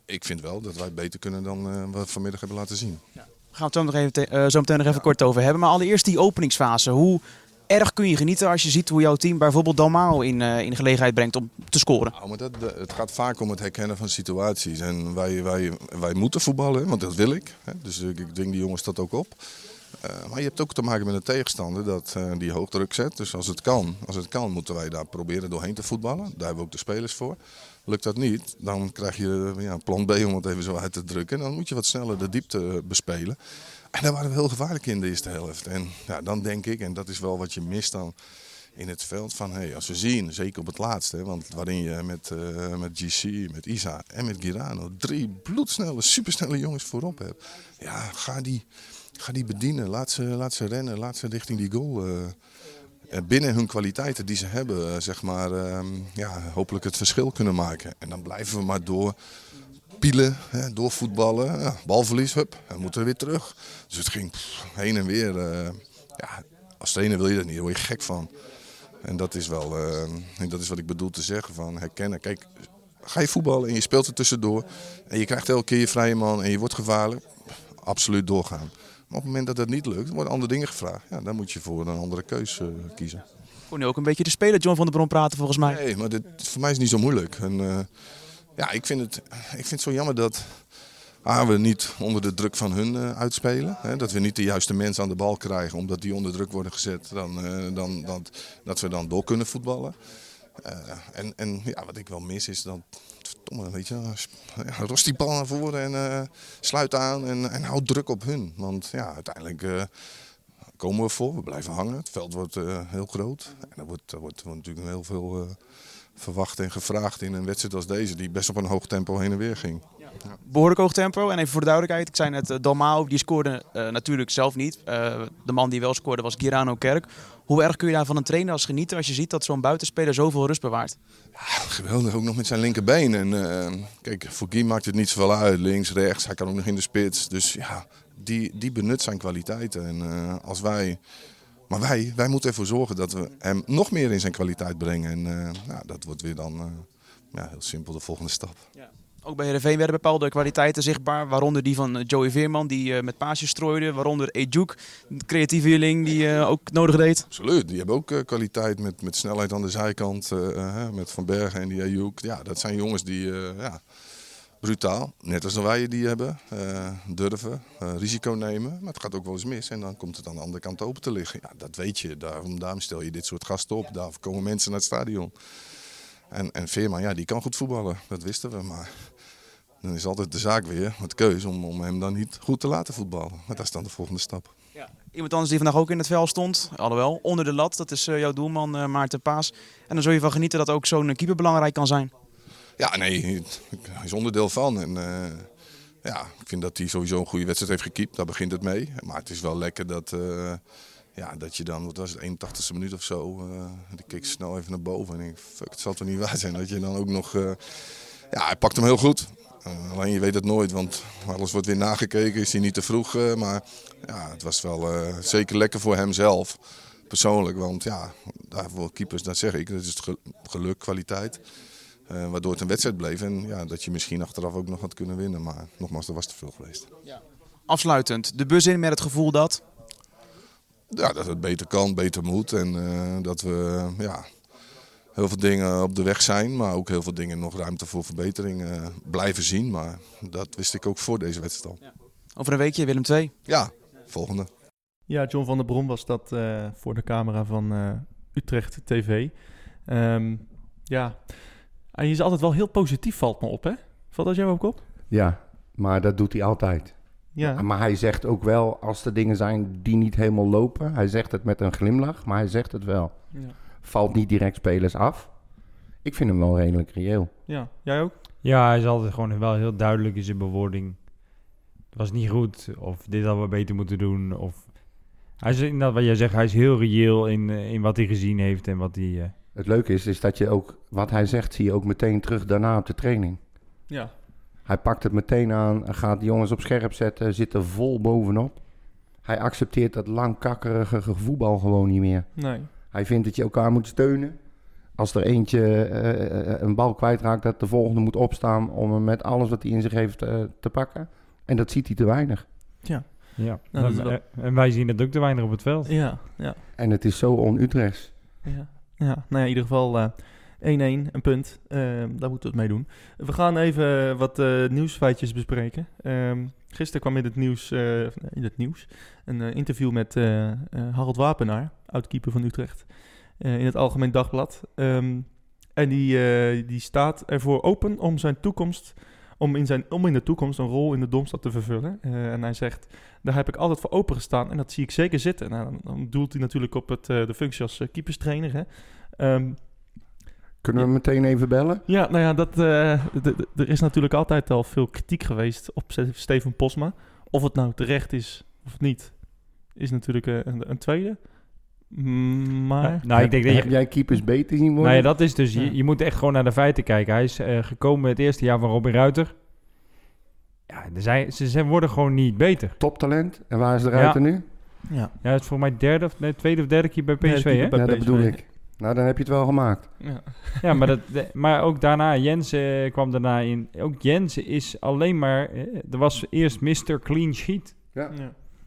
B: ik vind wel dat wij beter kunnen dan eh, wat we vanmiddag hebben laten zien.
H: We gaan het zo, nog even te- eh, zo meteen nog even kort over hebben. Maar allereerst die openingsfase. Hoe erg kun je genieten als je ziet hoe jouw team bijvoorbeeld Dalmao in, eh, in gelegenheid brengt om te scoren?
B: Nou, maar dat, de- het gaat vaak om het herkennen van situaties. En wij, wij, wij moeten voetballen, hè, want dat wil ik. Hè. Dus ik, ik dwing die jongens dat ook op. Eh, maar je hebt ook te maken met een tegenstander dat, eh, die hoog druk zet. Dus als het, kan, als het kan, moeten wij daar proberen doorheen te voetballen. Daar hebben we ook de spelers voor. Lukt dat niet, dan krijg je eh, ja, plan B om het even zo uit te drukken. En dan moet je wat sneller de diepte eh, bespelen. En daar waren we heel gevaarlijk in de eerste helft. En ja, dan denk ik, en dat is wel wat je mist dan in het veld van hey, als we zien, zeker op het laatste, hè, want waarin je met, eh, met GC, met Isa en met Girano drie bloedsnelle, supersnelle jongens voorop hebt. Ja, ga die, ga die bedienen. Laat ze, laat ze rennen, laat ze richting die goal. eh, en binnen hun kwaliteiten die ze hebben, eh, zeg maar, ehm, ja, hopelijk het verschil kunnen maken. En dan blijven we maar door pielen, hè, doorvoetballen. Ja, balverlies, hup, en moeten we weer terug. Dus het ging pff, heen en weer. eh, ja, als trainer wil je dat niet, daar word je gek van. En dat is wel, eh, en dat is wat ik bedoel te zeggen van herkennen. Kijk, ga je voetballen en je speelt er tussendoor en je krijgt elke keer je vrije man en je wordt gevaarlijk, absoluut doorgaan. Maar op het moment dat dat niet lukt, worden andere dingen gevraagd. Ja, dan moet je voor een andere keus eh, kiezen.
H: Kon nu ook een beetje de speler John van der Bron praten volgens mij.
B: Nee, maar dit, voor mij is het niet zo moeilijk. En, eh, ja, ik vind, het, ik vind het zo jammer dat A, we niet onder de druk van hun eh, uitspelen. Hè, dat we niet de juiste mensen aan de bal krijgen, omdat die onder druk worden gezet. Dan, eh, dan, dat, dat we dan door kunnen voetballen. Eh, en en ja, wat ik wel mis is dat... Verdomme, weet je, ja, rost die bal naar voren en eh, sluit aan en, en houd druk op hun. Want ja, uiteindelijk... eh, Komen we voor, we blijven hangen. Het veld wordt eh, heel groot. En er wordt, er wordt, er wordt natuurlijk heel veel eh, verwacht en gevraagd in een wedstrijd als deze, die best op een hoog tempo heen en weer ging.
H: Behoorlijk hoog tempo. En even voor de duidelijkheid, ik zei net eh, Dalmao, die scoorde eh, natuurlijk zelf niet. Eh, de man die wel scoorde was Girano Kerk. Hoe erg kun je daar van een trainer als genieten als je ziet dat zo'n buitenspeler zoveel rust bewaart?
B: Geweldig, ook nog met zijn linkerbeen. En eh, kijk, voor Guy maakt het niet zoveel uit, links, rechts. Hij kan ook nog in de spits. Dus ja, die, die benut zijn kwaliteiten. En eh, als wij... Maar wij, wij moeten ervoor zorgen dat we hem nog meer in zijn kwaliteit brengen. En eh, nou, dat wordt weer dan eh, ja, heel simpel de volgende stap.
H: Ook bij Heerenveen werden bepaalde kwaliteiten zichtbaar, waaronder die van eh, Joey Veerman die eh, met paasjes strooide, waaronder Ejuk, een creatieve leerling die eh, ook nodig deed.
B: Absoluut, die hebben ook eh, kwaliteit met, met snelheid aan de zijkant, eh, eh, hè, met Van Bergen en die Ayouk. Ja, dat zijn jongens die, eh, ja, brutaal, net als wij die hebben, eh, durven, eh, risico nemen. Maar het gaat ook wel eens mis en dan komt het aan de andere kant open te liggen. Ja, dat weet je, daarom, daarom stel je dit soort gasten op, daarvoor komen mensen naar het stadion. En, en Veerman, ja, die kan goed voetballen, dat wisten we, maar... Dan is altijd de zaak weer, met keuze, om, om hem dan niet goed te laten voetballen. Maar dat is dan de volgende stap.
H: Iemand anders die vandaag ook in het veld stond, alhoewel, onder de lat, dat is eh, jouw doelman eh, Maarten Paas. En dan zul je van genieten dat ook zo'n eh, keeper belangrijk kan zijn.
B: Ja, nee, het- hij is onderdeel van. En, eh, ja, ik vind dat hij sowieso een goede wedstrijd heeft gekiept. Daar begint het mee. Maar het is wel lekker dat, eh, ja, dat je dan, wat was het, 81ste minuut of zo, eh die keek snel even naar boven. En ik denk, fuck, het zal toch niet waar zijn dat je dan ook nog... eh, ja, hij pakt hem heel goed. Eh, alleen je weet het nooit, want alles wordt weer nagekeken. Is hij niet te vroeg? eh, maar ja, het was wel eh, zeker lekker voor hemzelf. Persoonlijk, want ja, daarvoor keepers, dat zeg ik, dat is het ge- geluk, kwaliteit. eh, waardoor het een wedstrijd bleef en ja, dat je misschien achteraf ook nog had kunnen winnen. Maar nogmaals, dat was te veel geweest.
H: Afsluitend, de bus in met het gevoel dat...
B: ja, dat het beter kan, beter moet. En eh, dat we ja, heel veel dingen op de weg zijn, maar ook heel veel dingen nog ruimte voor verbetering eh, blijven zien. Maar dat wist ik ook voor deze wedstrijd al.
H: Over een weekje Willem II.
B: Ja, volgende.
E: Ja, John van der Brom was dat eh, voor de camera van eh, Utrecht TV. Ehm, ja, hij Ah, is altijd wel heel positief, valt me op, hè? Valt dat jou ook op?
F: Ja, maar dat doet hij altijd.
E: Ja,
F: Maar hij zegt ook wel, als er dingen zijn die niet helemaal lopen, hij zegt het met een glimlach, maar hij zegt het wel.
E: ja.
F: Valt niet direct spelers af. Ik vind hem wel redelijk reëel.
E: ja. jij ook?
G: Ja, hij is altijd gewoon wel heel duidelijk in zijn bewoording. Het was niet goed, of dit hadden we beter moeten doen. Of... Hij is inderdaad wat jij zegt, hij is heel reëel in, eh, in wat hij gezien heeft en wat hij... eh,
F: Het leuke is, is dat je ook, wat hij zegt, zie je ook meteen terug daarna op de training.
E: Ja.
F: Hij pakt het meteen aan, gaat de jongens op scherp zetten, zit er vol bovenop. Hij accepteert dat langkakkerige voetbal gewoon niet meer.
E: Nee.
F: Hij vindt dat je elkaar moet steunen. Als er eentje eh, eh, een bal kwijtraakt, dat de volgende moet opstaan om hem met alles wat hij in zich heeft eh, te pakken. En dat ziet hij te weinig.
G: Ja,
E: Nou, dat is
G: en,
E: wel-
G: eh, en wij zien het ook te weinig op het veld.
E: Ja, ja.
F: En het is zo on-Utrechts.
E: Ja, ja. nou ja, in ieder geval eh, 1-1, een punt. Ehm, daar moeten we het mee doen. We gaan even wat eh, nieuwsfeitjes bespreken. Ehm, gisteren kwam in het nieuws, eh, in het nieuws een eh, interview met eh, eh, Harald Wapenaar, oud-keeper van Utrecht, eh, in het Algemeen Dagblad. Ehm, en die, eh, die staat ervoor open om zijn toekomst... Om in, zijn, om in de toekomst een rol in de domstad te vervullen. Eh, en hij zegt, daar heb ik altijd voor opengestaan en dat zie ik zeker zitten. Nou, dan, dan doelt hij natuurlijk op het, eh, de functie als eh, keeperstrainer. Hè? Ehm,
F: Kunnen we hem meteen even bellen?
E: ja, nou ja, dat, eh, d- d- er is natuurlijk altijd al veel kritiek geweest op Ste- Steven Posma. Of het nou terecht is of niet, is natuurlijk eh, een, een tweede. Mm, Maar...
G: Ja, nou, ik denk dat
F: Heb
G: je...
F: jij keepers beter zien worden?
G: Nou ja, dat is dus...
E: Ja.
G: Je, je moet echt gewoon naar de feiten kijken. Hij is eh, gekomen het eerste jaar van Robin Ruiter. Ja, er zijn, ze zijn, worden gewoon niet beter.
F: Toptalent. En waar is de ruiter nu?
E: Ja,
G: Ja, het is voor mij derde of, nee, tweede of derde keer bij PSV,
E: Nee,
G: hè?
E: Bij
F: ja, dat
E: PSV.
F: bedoel ik. Nou, dan heb je het wel gemaakt.
E: ja.
G: Ja, maar, dat, de- maar ook daarna, Jensen kwam daarna in. Ook Jensen is alleen maar... eh, Er was eerst Mr. Clean Sheet.
E: ja.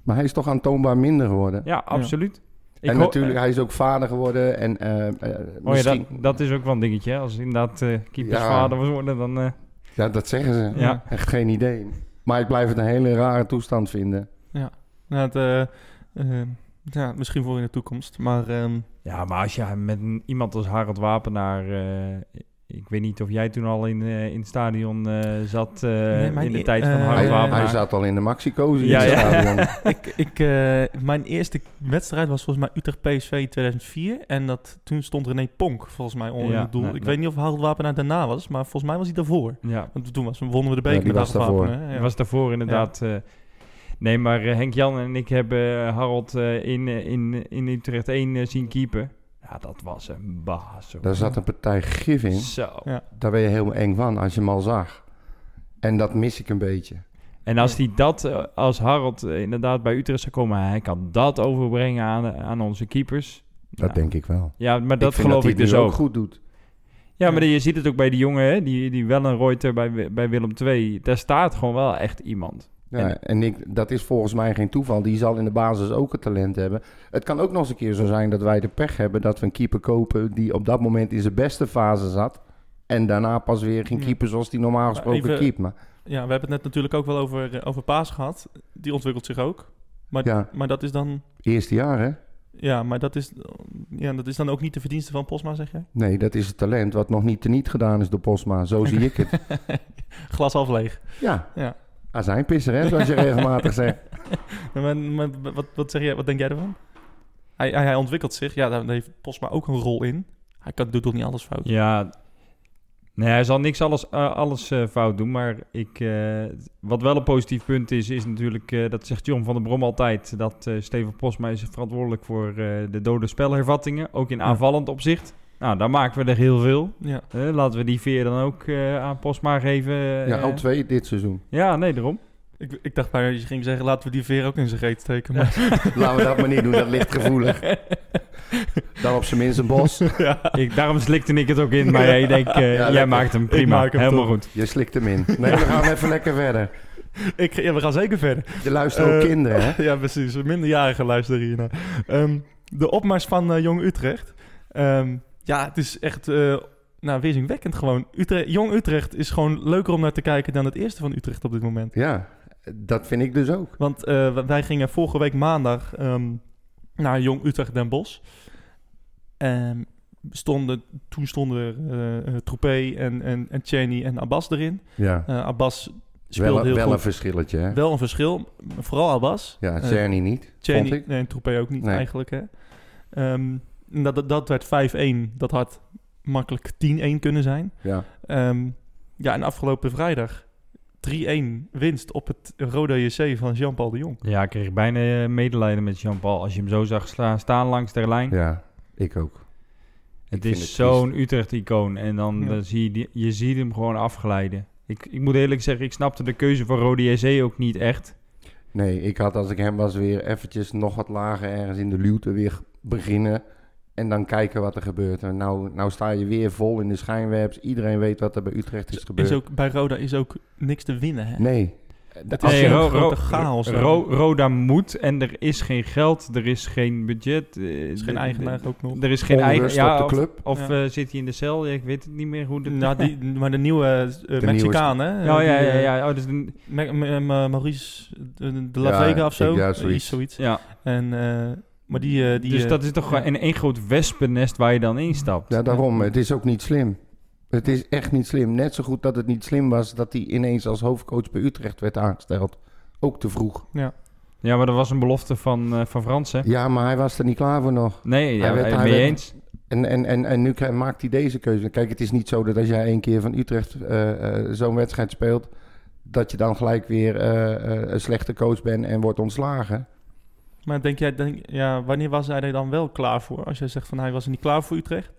F: Maar hij is toch aantoonbaar minder geworden.
G: Ja, absoluut. Ik
F: en
G: ho-
F: natuurlijk, hij is ook vader geworden. En, eh, eh,
G: Oh ja,
F: misschien-
G: dat, dat is ook wel een dingetje. hè. Als inderdaad eh
F: Ja.
G: keepersvader was worden, dan... eh,
F: ja, dat zeggen ze.
G: Ja.
F: Echt geen idee. Maar ik blijf het een hele rare toestand vinden.
E: Nou, het, eh, eh, ja, misschien voor in de toekomst. Maar ehm,
G: Ja, maar als je met een- iemand als Harald Wapenaar... eh, ik weet niet of jij toen al in, eh, in het stadion eh, zat eh,
E: maar
G: in de
E: niet-
G: tijd van
E: eh,
G: Harald
F: Hij,
E: wou
G: Wapenaar.
F: hij zat al in de Maxico's in
G: Ja,
F: het
G: ja.
F: stadion.
E: ik, ik, eh, mijn eerste wedstrijd was volgens mij Utrecht PSV 2004. En dat, toen stond René Ponk volgens mij onder
G: Ja,
E: het doel.
G: nee,
E: ik
G: nee.
E: weet niet of Harold Wapenaar daarna was, maar volgens mij was hij daarvoor.
G: Ja,
E: Want toen was, wonnen we de beker
F: Ja, die
E: met
F: was
E: Harold
F: daarvoor.
E: Wapenaar, hè, ja.
G: was daarvoor inderdaad... eh, nee, maar eh, Henk Jan en ik hebben eh, Harald eh, in, eh, in, in Utrecht 1 eh, zien keepen. Ja, dat was een baas. hoor.
F: Daar zat een partij gif in.
G: Zo.
E: Ja.
F: Daar ben je heel eng van als je hem al zag. En dat mis ik een beetje.
G: En als hij dat, eh, als Harald eh, inderdaad bij Utrecht zou komen, hij kan dat overbrengen aan, eh, aan onze keepers.
F: Dat
G: Ja.
F: denk ik wel.
G: Ja, maar dat
F: ik vind
G: geloof
F: dat
G: ik
F: hij het
G: dus
F: nu
G: ook.
F: goed doet.
G: Ja, maar je ziet het ook bij die jongen, hè, die, die Wellenreuter bij, Wi- bij Willem II. Daar staat gewoon wel echt iemand.
F: Ja,
G: En-
F: en ik, dat is volgens mij geen toeval. Die zal in de basis ook het talent hebben. Het kan ook nog eens een keer zo zijn dat wij de pech hebben dat we een keeper kopen die op dat moment in zijn beste fase zat. En daarna pas weer geen
E: Ja.
F: keeper zoals die normaal gesproken
E: even-
F: keept. Maar
E: Ja, we hebben het net natuurlijk ook wel over, eh, over Paas gehad. Die ontwikkelt zich ook. Maar,
F: Ja.
E: maar dat is dan...
F: eerste jaar, hè?
E: Ja, maar dat is, ja, dat is dan ook niet de verdienste van Posma, zeg jij?
F: Nee, dat is het talent wat nog niet teniet gedaan is door Posma. Zo zie ik het.
E: Glas half leeg.
F: Ja,
E: Ja.
F: azijnpisser, hè, zoals je regelmatig zegt.
E: Maar, maar wat, wat, zeg jij, wat denk jij ervan? Hij, hij, hij ontwikkelt zich. Ja, daar heeft Posma ook een rol in. Hij kan, doet toch niet alles fout?
G: Ja, nee, hij zal niks alles, eh, alles eh, fout doen. Maar ik, eh, wat wel een positief punt is, is natuurlijk, eh, dat zegt John van der Brom altijd, dat eh, Steven Posma is verantwoordelijk voor eh, de dode spelhervattingen, ook in aanvallend opzicht. Nou, dan maken we er heel veel.
E: Ja.
G: Eh, laten we die veer dan ook eh, aan Postma geven. eh.
F: Ja, al twee dit seizoen.
G: Ja, nee, daarom.
E: Ik, ik dacht bijna dat je ging zeggen, laten we die veer ook in zijn reet steken. Maar
F: Laten we dat maar niet doen, dat ligt gevoelig. Dan op zijn minst een bos.
G: Ik, daarom slikte ik het ook in. Maar jij denkt, eh, jij
F: Ja, lekker.
G: maakt hem prima.
E: maak hem
G: Helemaal
E: toch.
G: goed.
F: Je slikt hem in. Nee, we gaan even lekker verder.
E: ik, ja, we gaan zeker verder.
F: Je luistert ook
E: Eh,
F: kinderen, hè?
E: Ja, precies. Minderjarigen luisteren hiernaar. Ehm, de opmars van eh, Jong Utrecht. Ehm, ja, het is echt eh nou, weerzinwekkend gewoon. Utrecht, Jong Utrecht is gewoon leuker om naar te kijken dan het eerste van Utrecht op dit moment.
F: Ja, dat vind ik dus ook.
E: Want eh, w- wij gingen vorige week maandag ehm, naar Jong Utrecht Den Bosch. Ehm, stonden, toen stonden er eh, eh, Troepé en, en, en Cheney en Abbas erin.
F: Ja,
E: Eh, Abbas speelde
F: wel,
E: heel
F: wel
E: goed.
F: een verschilletje, hè?
E: wel een verschil, vooral Abbas.
F: Ja,
E: Eh,
F: Cerny niet,
E: Cheney
F: vond ik.
E: nee, en Troepé ook niet
F: Nee.
E: eigenlijk. Hè. Ehm, en dat, dat, dat werd 5-1. Dat had makkelijk 10-1 kunnen zijn.
F: Ja,
E: Ehm, ja, en afgelopen vrijdag 3-1 winst op het Roda JC van Jean-Paul de Jong.
G: Ja, ik kreeg bijna eh, medelijden met Jean-Paul. Als je hem zo zag sla- staan langs de lijn.
F: ja, ik ook.
G: het
F: ik vind
G: is
F: het
G: zo'n Utrecht-icoon. En dan,
E: Ja.
G: dan zie je, die- je ziet hem gewoon afglijden. Ik, ik moet eerlijk zeggen, ik snapte de keuze van Rode JC ook niet echt.
F: Nee, ik had als ik hem was weer eventjes nog wat lager ergens in de luwte weer beginnen. En dan kijken wat er gebeurt. En nou, nou sta je weer vol in de schijnwerps. Iedereen weet wat er bij Utrecht is gebeurd.
E: Is ook, bij Roda is ook niks te winnen. Hè?
F: Nee.
E: Dat
F: Als
E: is
F: je-
E: een grote chaos, hè?
G: Ro- Roda moet en er is geen geld, er is geen budget. Er
E: is geen eigenaar ook nog.
G: Er is geen eigen,
F: Onrust op
G: ja,
F: de
G: of-
F: club.
G: Of,
E: Ja.
G: eh, zit hij in de cel? Ja, ik weet het niet meer hoe dat...
E: Nou, die, maar de nieuwe eh,
F: nieuwe
E: Mexicaan, hè?
G: Oh, ja,
E: Die,
G: ja,
E: eh,
G: ja. ja. Oh, dus een-
E: Ma- Ma- Ma- Maurice de de La
F: Ja,
E: Vega of
F: ik-
E: zo.
F: ja,
E: Eh,
F: zoiets.
E: iets zoiets.
G: ja.
E: En, eh, maar die... eh, die
G: dus
E: eh,
G: dat is toch
E: ja.
G: gewoon een één groot wespennest waar je dan instapt.
F: Ja, daarom. Het is ook niet slim. Het is echt niet slim. Net zo goed dat het niet slim was dat hij ineens als hoofdcoach bij Utrecht werd aangesteld. Ook te vroeg.
G: Ja, maar dat was een belofte van, eh, van Frans, hè?
F: Ja, maar hij was er niet klaar voor nog.
G: Nee, ja,
F: Hij werd-
G: eh,
F: hij
G: mee
F: werd-
G: eens.
F: En, en, en, en nu krijg- maakt hij deze keuze. Kijk, het is niet zo dat als jij één keer van Utrecht eh, eh, zo'n wedstrijd speelt, dat je dan gelijk weer eh, eh, een slechte coach bent en wordt ontslagen.
E: Maar denk jij... Denk, ja, wanneer was hij er dan wel klaar voor? Als jij zegt van hij was er niet klaar voor Utrecht.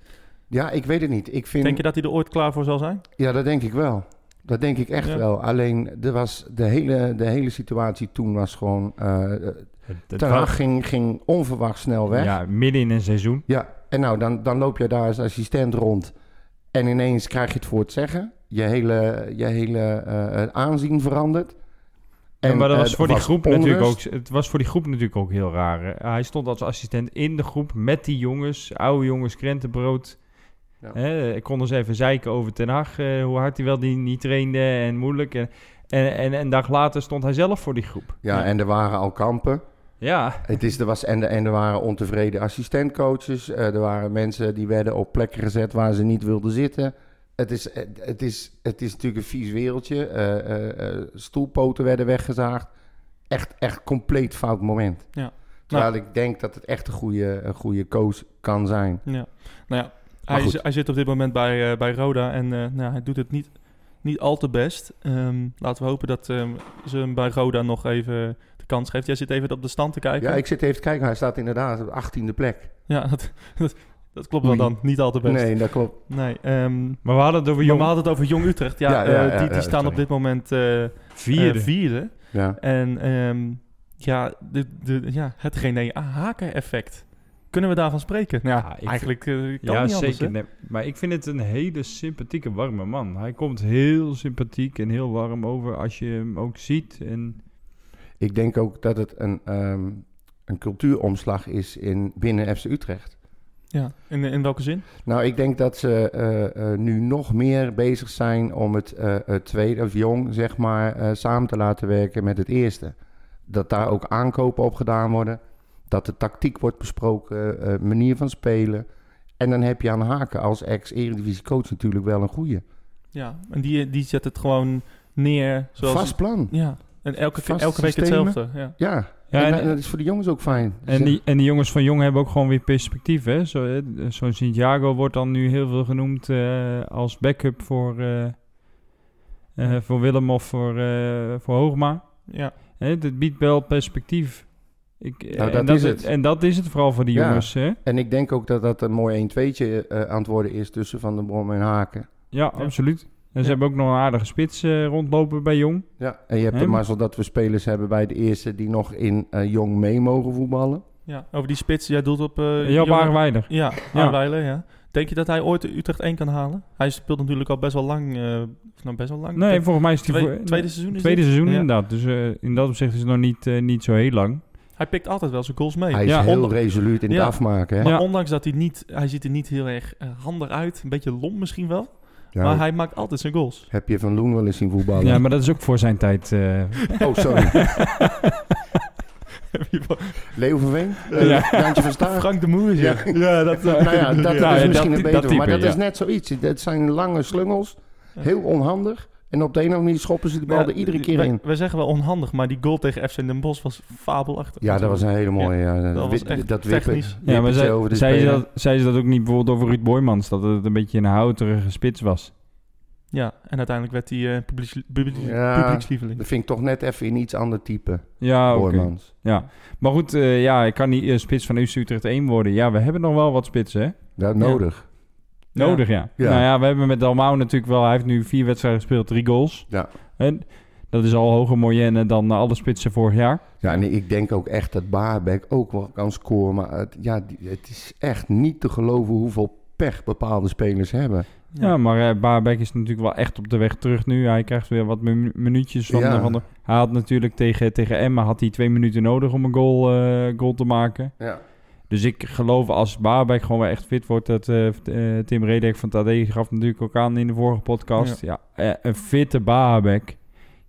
F: Ja, ik weet het niet. Ik vind,
E: Denk je dat hij er ooit klaar voor zal zijn?
F: Ja, dat denk ik wel. Dat denk ik echt
E: Ja.
F: wel. Alleen er was de, hele, de hele situatie toen was gewoon. eh
G: Het- het
F: het
G: was-
F: ging, ging onverwacht snel weg.
G: Ja, midden in een seizoen.
F: Ja, en nou, dan, dan loop je daar als assistent rond. En ineens krijg je het voor het zeggen. Je hele, je hele eh, eh, aanzien verandert.
G: En, maar dat
F: eh,
G: was voor
F: er
G: die groep natuurlijk ook.
F: onrust.
G: Het was voor die groep natuurlijk ook heel raar. hè. Hij stond als assistent in de groep met die jongens, oude jongens, krentenbrood.
F: Ja.
G: Hè, ik kon dus even zeiken over Ten Hag, eh, hoe hard hij wel die niet trainde en moeilijk. En, en, en een dag later stond hij zelf voor die groep.
F: Ja, en er waren al kampen.
G: Ja,
F: Het is, er was, en, er- en er waren ontevreden assistentcoaches. Eh, er waren mensen die werden op plekken gezet waar ze niet wilden zitten. Het is, het, het is, het is natuurlijk een vies wereldje. Eh, eh, eh, stoelpoten werden weggezaagd. Echt, echt compleet fout moment.
E: Ja. Nou.
F: Terwijl ik denk dat het echt een goede, een goede coach kan zijn.
E: Ja. Nou ja, hij,
F: goed.
E: zi- hij zit op dit moment bij, eh, bij Roda en eh, nou, hij doet het niet, niet al te best. Ehm, laten we hopen dat ehm, ze hem bij Roda nog even de kans geeft. Jij zit even op de stand te kijken.
F: Ja, ik zit even te kijken. Hij staat inderdaad op de 18e plek.
E: Ja, dat, dat, dat klopt wel
F: Oei.
E: dan. Niet al te best. Nee.
F: Nee, dat klopt.
E: ehm,
G: maar we hadden het over
E: maar we
G: jong
E: hadden het over Jong Utrecht. Ja,
F: Ja, ja,
E: eh,
F: ja,
E: die,
F: ja,
E: die staan
F: sorry.
E: op dit moment eh, eh,
G: vierde.
E: vierde.
F: Ja.
E: En ehm, ja, de, de, ja, het René Haken-effect. Kunnen we daarvan spreken? Nou,
G: Ja,
E: ja,
G: ik-
E: eigenlijk eh, kan
G: ja,
E: niet
G: zeker.
E: anders. hè?
G: Nee, maar ik vind het een hele sympathieke, warme man. Hij komt heel sympathiek en heel warm over als je hem ook ziet. En
F: Ik denk ook dat het een, ehm, een cultuuromslag is in, binnen FC Utrecht.
E: Ja. In, in welke zin?
F: Nou, ik denk dat ze eh, eh, nu nog meer bezig zijn om het, eh, het tweede, of jong, zeg maar, eh, samen te laten werken met het eerste. Dat daar ook aankopen op gedaan worden. Dat de tactiek wordt besproken, eh, manier van spelen. En dan heb je aan Haken als ex-eredivisie-coach natuurlijk wel een goede.
E: Ja, en die, die zet het gewoon neer zoals...
F: Vast plan.
E: Ja, en elke,
F: Vaste
E: elke week
F: systemen.
E: hetzelfde. Ja.
F: Ja,
G: Ja,
F: en,
G: en-
F: dat- dat is voor de jongens ook fijn. Dus,
G: En die, en die jongens van Jong hebben ook gewoon weer perspectief, hè? Zo, eh, Zo'n Santiago wordt dan nu heel veel genoemd eh, als backup voor, eh, eh, voor Willem of voor, eh, voor Hoogma.
E: Ja.
G: Hè, dit biedt wel perspectief. Ik, eh,
F: Nou,
G: en
F: dat is het.
G: En dat is het vooral voor die
F: Ja.
G: jongens. Hè?
F: eh, En ik denk ook dat dat een mooi 1-2'tje eh, aan het worden is tussen Van der Brom en Haken.
G: Ja, absoluut. En ze
E: Ja.
G: hebben ook nog een aardige spits eh, rondlopen bij Jong.
F: Ja, en je hebt de
G: Hem.
F: mazzel dat we spelers hebben bij de eerste die nog in eh, jong mee mogen voetballen.
E: Ja, over die spits, jij doelt op...
G: Uh,
E: eh
G: Jap
E: Jongen-
G: Aarweiler.
E: Ja,
G: Ja.
E: Aarweiler, ja. Denk je dat hij ooit Utrecht 1 kan halen? Hij speelt natuurlijk al best wel lang. eh, of nou, best wel lang.
G: Nee,
E: Ik denk
G: volgens mij is het
E: twee-
G: voor-
E: tweede seizoen is
G: tweede
E: dit.
G: seizoen
E: Ja.
G: inderdaad. Dus eh, in dat opzicht is het nog niet, eh, niet zo heel lang.
E: Hij pikt altijd wel zijn goals mee.
F: Hij is
G: Ja,
F: heel
E: onder-
F: resoluut in
E: Ja.
F: het afmaken. Hè?
E: Maar
G: Ja.
E: ondanks dat hij niet... Hij ziet er niet heel erg eh, handig uit. Een beetje lomp misschien
F: Nou.
E: wel.
F: Ja,
E: Maar hij maakt altijd zijn goals.
F: Heb je Van Loen wel eens zien voetballen?
G: Ja, maar dat is ook voor zijn tijd. eh,
F: Oh, sorry.
E: Wie wa-
F: Leo van Veen?
G: Ja.
F: Eh, Jantje van Staart?
E: Frank de Moer is
F: Ja.
E: het. Ja, dat... eh,
F: Nou ja, dat
G: Ja,
F: is
G: ja,
F: misschien
G: dat-
F: een
G: dat
F: betere, maar
G: type,
F: dat
G: ja.
F: is net zoiets. Dat zijn lange slungels, heel onhandig. En op de een of andere manier schoppen ze de bal
E: Ja,
F: er iedere keer
E: wij-
F: in.
E: Wij zeggen wel onhandig, maar die goal tegen FC Den Bosch was fabelachtig.
F: Ja, dat was een hele mooie. Ja,
E: dat
F: dat
E: was
F: wi-
E: echt
F: dat wippen-
E: technisch.
G: ja, maar
F: wippertje
G: zei,
F: over de
G: zei, ze
F: speler.
G: dat, zei ze dat ook niet bijvoorbeeld over Ruud Boymans? Dat het een beetje een houterige spits was.
E: Ja, en uiteindelijk werd hij eh publieks, publieks,
F: Ja.
E: publiekslieveling.
F: Dat vind ik toch net even in iets ander type,
G: Ja, Ah, oké.
F: Boymans.
G: Ja. Maar goed, eh, ja, ik kan niet eh, spits van UC Utrecht 1 worden. Ja, we hebben nog wel wat spitsen, hè?
F: Dat nodig.
G: Nodig, ja.
F: Ja.
G: Nou ja, we hebben met Dalmau natuurlijk wel... Hij heeft nu vier wedstrijden gespeeld, drie goals.
F: Ja.
G: En dat is al hoger moyenne dan eh, alle spitsen vorig jaar.
F: Ja, en ik denk ook echt dat Baarbek ook wel kan scoren. Maar het, ja, die- het is echt niet te geloven hoeveel pech bepaalde spelers hebben.
E: Ja.
G: Ja, maar eh, Baarbek is natuurlijk wel echt op de weg terug nu. Hij krijgt weer wat minu- minuutjes van,
F: Ja.
G: van de... Hij had natuurlijk tegen, tegen Emma had hij twee minuten nodig om een goal, eh, goal te maken.
F: Ja.
G: Dus ik geloof als Baarbek gewoon weer echt fit wordt... dat eh, t- eh, Tim Redek van Tadee gaf natuurlijk ook aan in de vorige podcast. Ja, eh, een fitte Baarbek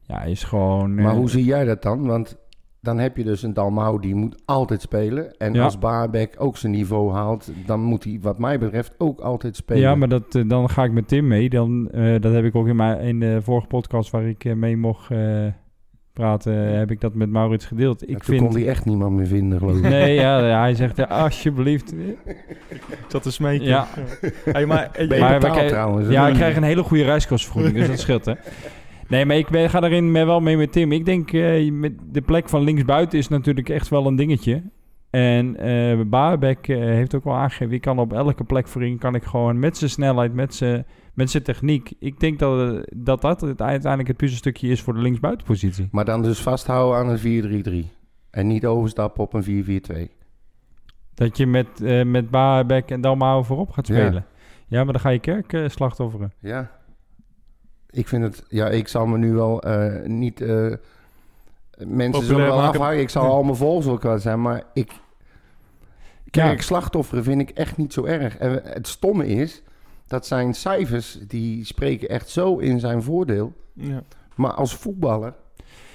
G: ja, is gewoon... eh,
F: Maar hoe zie jij dat dan? Want dan heb je dus een Dalmau die moet altijd spelen. En
G: Ja.
F: als Baarbek ook zijn niveau haalt, dan moet hij wat mij betreft ook altijd spelen.
G: Ja, maar dat, eh, dan ga ik met Tim mee. Dan, eh, dat heb ik ook in, mijn, in de vorige podcast waar ik eh, mee mocht eh, praten... heb ik dat met Maurits gedeeld. Ik
F: Ja, toen
G: vind...
F: kon hij echt niemand meer vinden, geloof ik.
G: Nee, ja, hij zegt eh, alsjeblieft.
E: Ik zat te smeken.
G: Ja.
E: Hey, maar,
F: Ben je
G: Maar we
F: betaald
G: krijgen-
F: trouwens?
G: Ja, ik krijg een hele goede reiskostvergoeding, dus dat scheelt hè. Nee, maar ik ben, ga daarin me- wel mee met Tim. Ik denk, eh, met de plek van linksbuiten is natuurlijk echt wel een dingetje. En eh Baarbek eh, heeft ook wel aangegeven, ik kan op elke plek voorin, kan ik gewoon met zijn snelheid, met zijn, met zijn techniek. Ik denk dat, eh, dat dat het uiteindelijk het puzzelstukje is voor de linksbuitenpositie.
F: Maar dan dus vasthouden aan een 4-3-3. En niet overstappen op een 4-4-2.
G: Dat je met, eh met Baarbek en Dalmau voorop gaat
F: Ja.
G: spelen. Ja, maar dan ga je kerk eh, slachtofferen.
F: Ja. Ik vind het... Ja, ik zal me nu wel eh, niet... eh, mensen zullen wel
E: maken.
F: afhaken. Ik zal al mijn volgers wel kwijt zijn, maar ik... Kijk, slachtofferen vind ik echt niet zo erg. En het stomme is, dat zijn cijfers die spreken echt zo in zijn voordeel.
E: ja.
F: Maar als voetballer...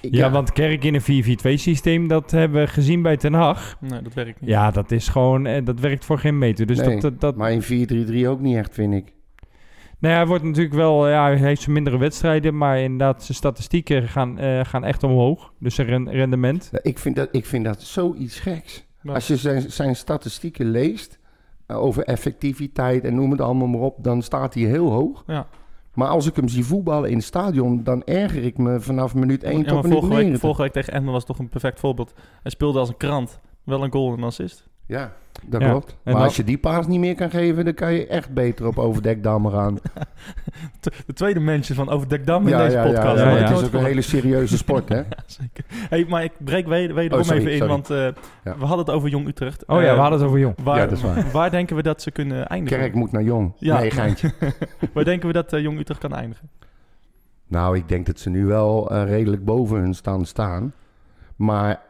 F: ik-
G: Ja, want Kerk in een 4-4-2 systeem, dat hebben we gezien bij Ten Hag.
E: Nee, dat werkt niet.
G: Ja, dat is gewoon, eh, dat werkt voor geen meter. Dus
F: Nee,
G: dat, dat, dat-
F: Maar in 4-3-3 ook niet echt, vind ik.
G: nou ja, hij wordt natuurlijk wel, ja, hij heeft zijn mindere wedstrijden, maar inderdaad, zijn statistieken gaan, eh, gaan echt omhoog. Dus zijn ren- rendement.
F: Nou, Ik vind dat, ik vind dat zoiets geks.
E: Ja.
F: Als je zijn, zijn statistieken leest eh, over effectiviteit en noem het allemaal maar op, dan staat hij heel hoog.
E: Ja.
F: Maar als ik hem zie voetballen in het stadion, dan erger ik me vanaf minuut 1
E: Ja,
F: tot
E: maar
F: minuut
E: vorige week,
F: 90.
E: vorige week tegen Emmen was toch een perfect voorbeeld. Hij speelde als een krant. Wel een goal en een assist.
F: Ja, dat
G: Ja.
F: klopt.
G: En
F: Maar
G: dan-
F: als je die paas niet meer kan geven, dan kan je echt beter op overdekdammen gaan.
E: T- de tweede mention van Overdekdam in
F: ja,
E: deze
F: ja, ja,
E: podcast.
F: ja,
E: Dat
G: ja.
E: had ik
F: Het
E: nooit
F: is ook een
E: verwacht.
F: hele serieuze sport, hè?
E: Ja, zeker. Hey, maar ik breek weder- wederom
F: Oh, sorry,
E: even in,
F: sorry.
E: want eh,
F: Ja.
E: we hadden het over Jong Utrecht.
G: Oh ja,
E: Eh,
G: we hadden het over jong.
E: waar,
F: Ja, dat is waar.
E: waar denken we dat ze kunnen eindigen?
F: Kerk moet naar Jong.
E: Ja.
F: Nee, geintje.
E: Waar denken we dat eh, Jong Utrecht kan eindigen?
F: Nou, ik denk dat ze nu wel eh, redelijk boven hun stand staan. Maar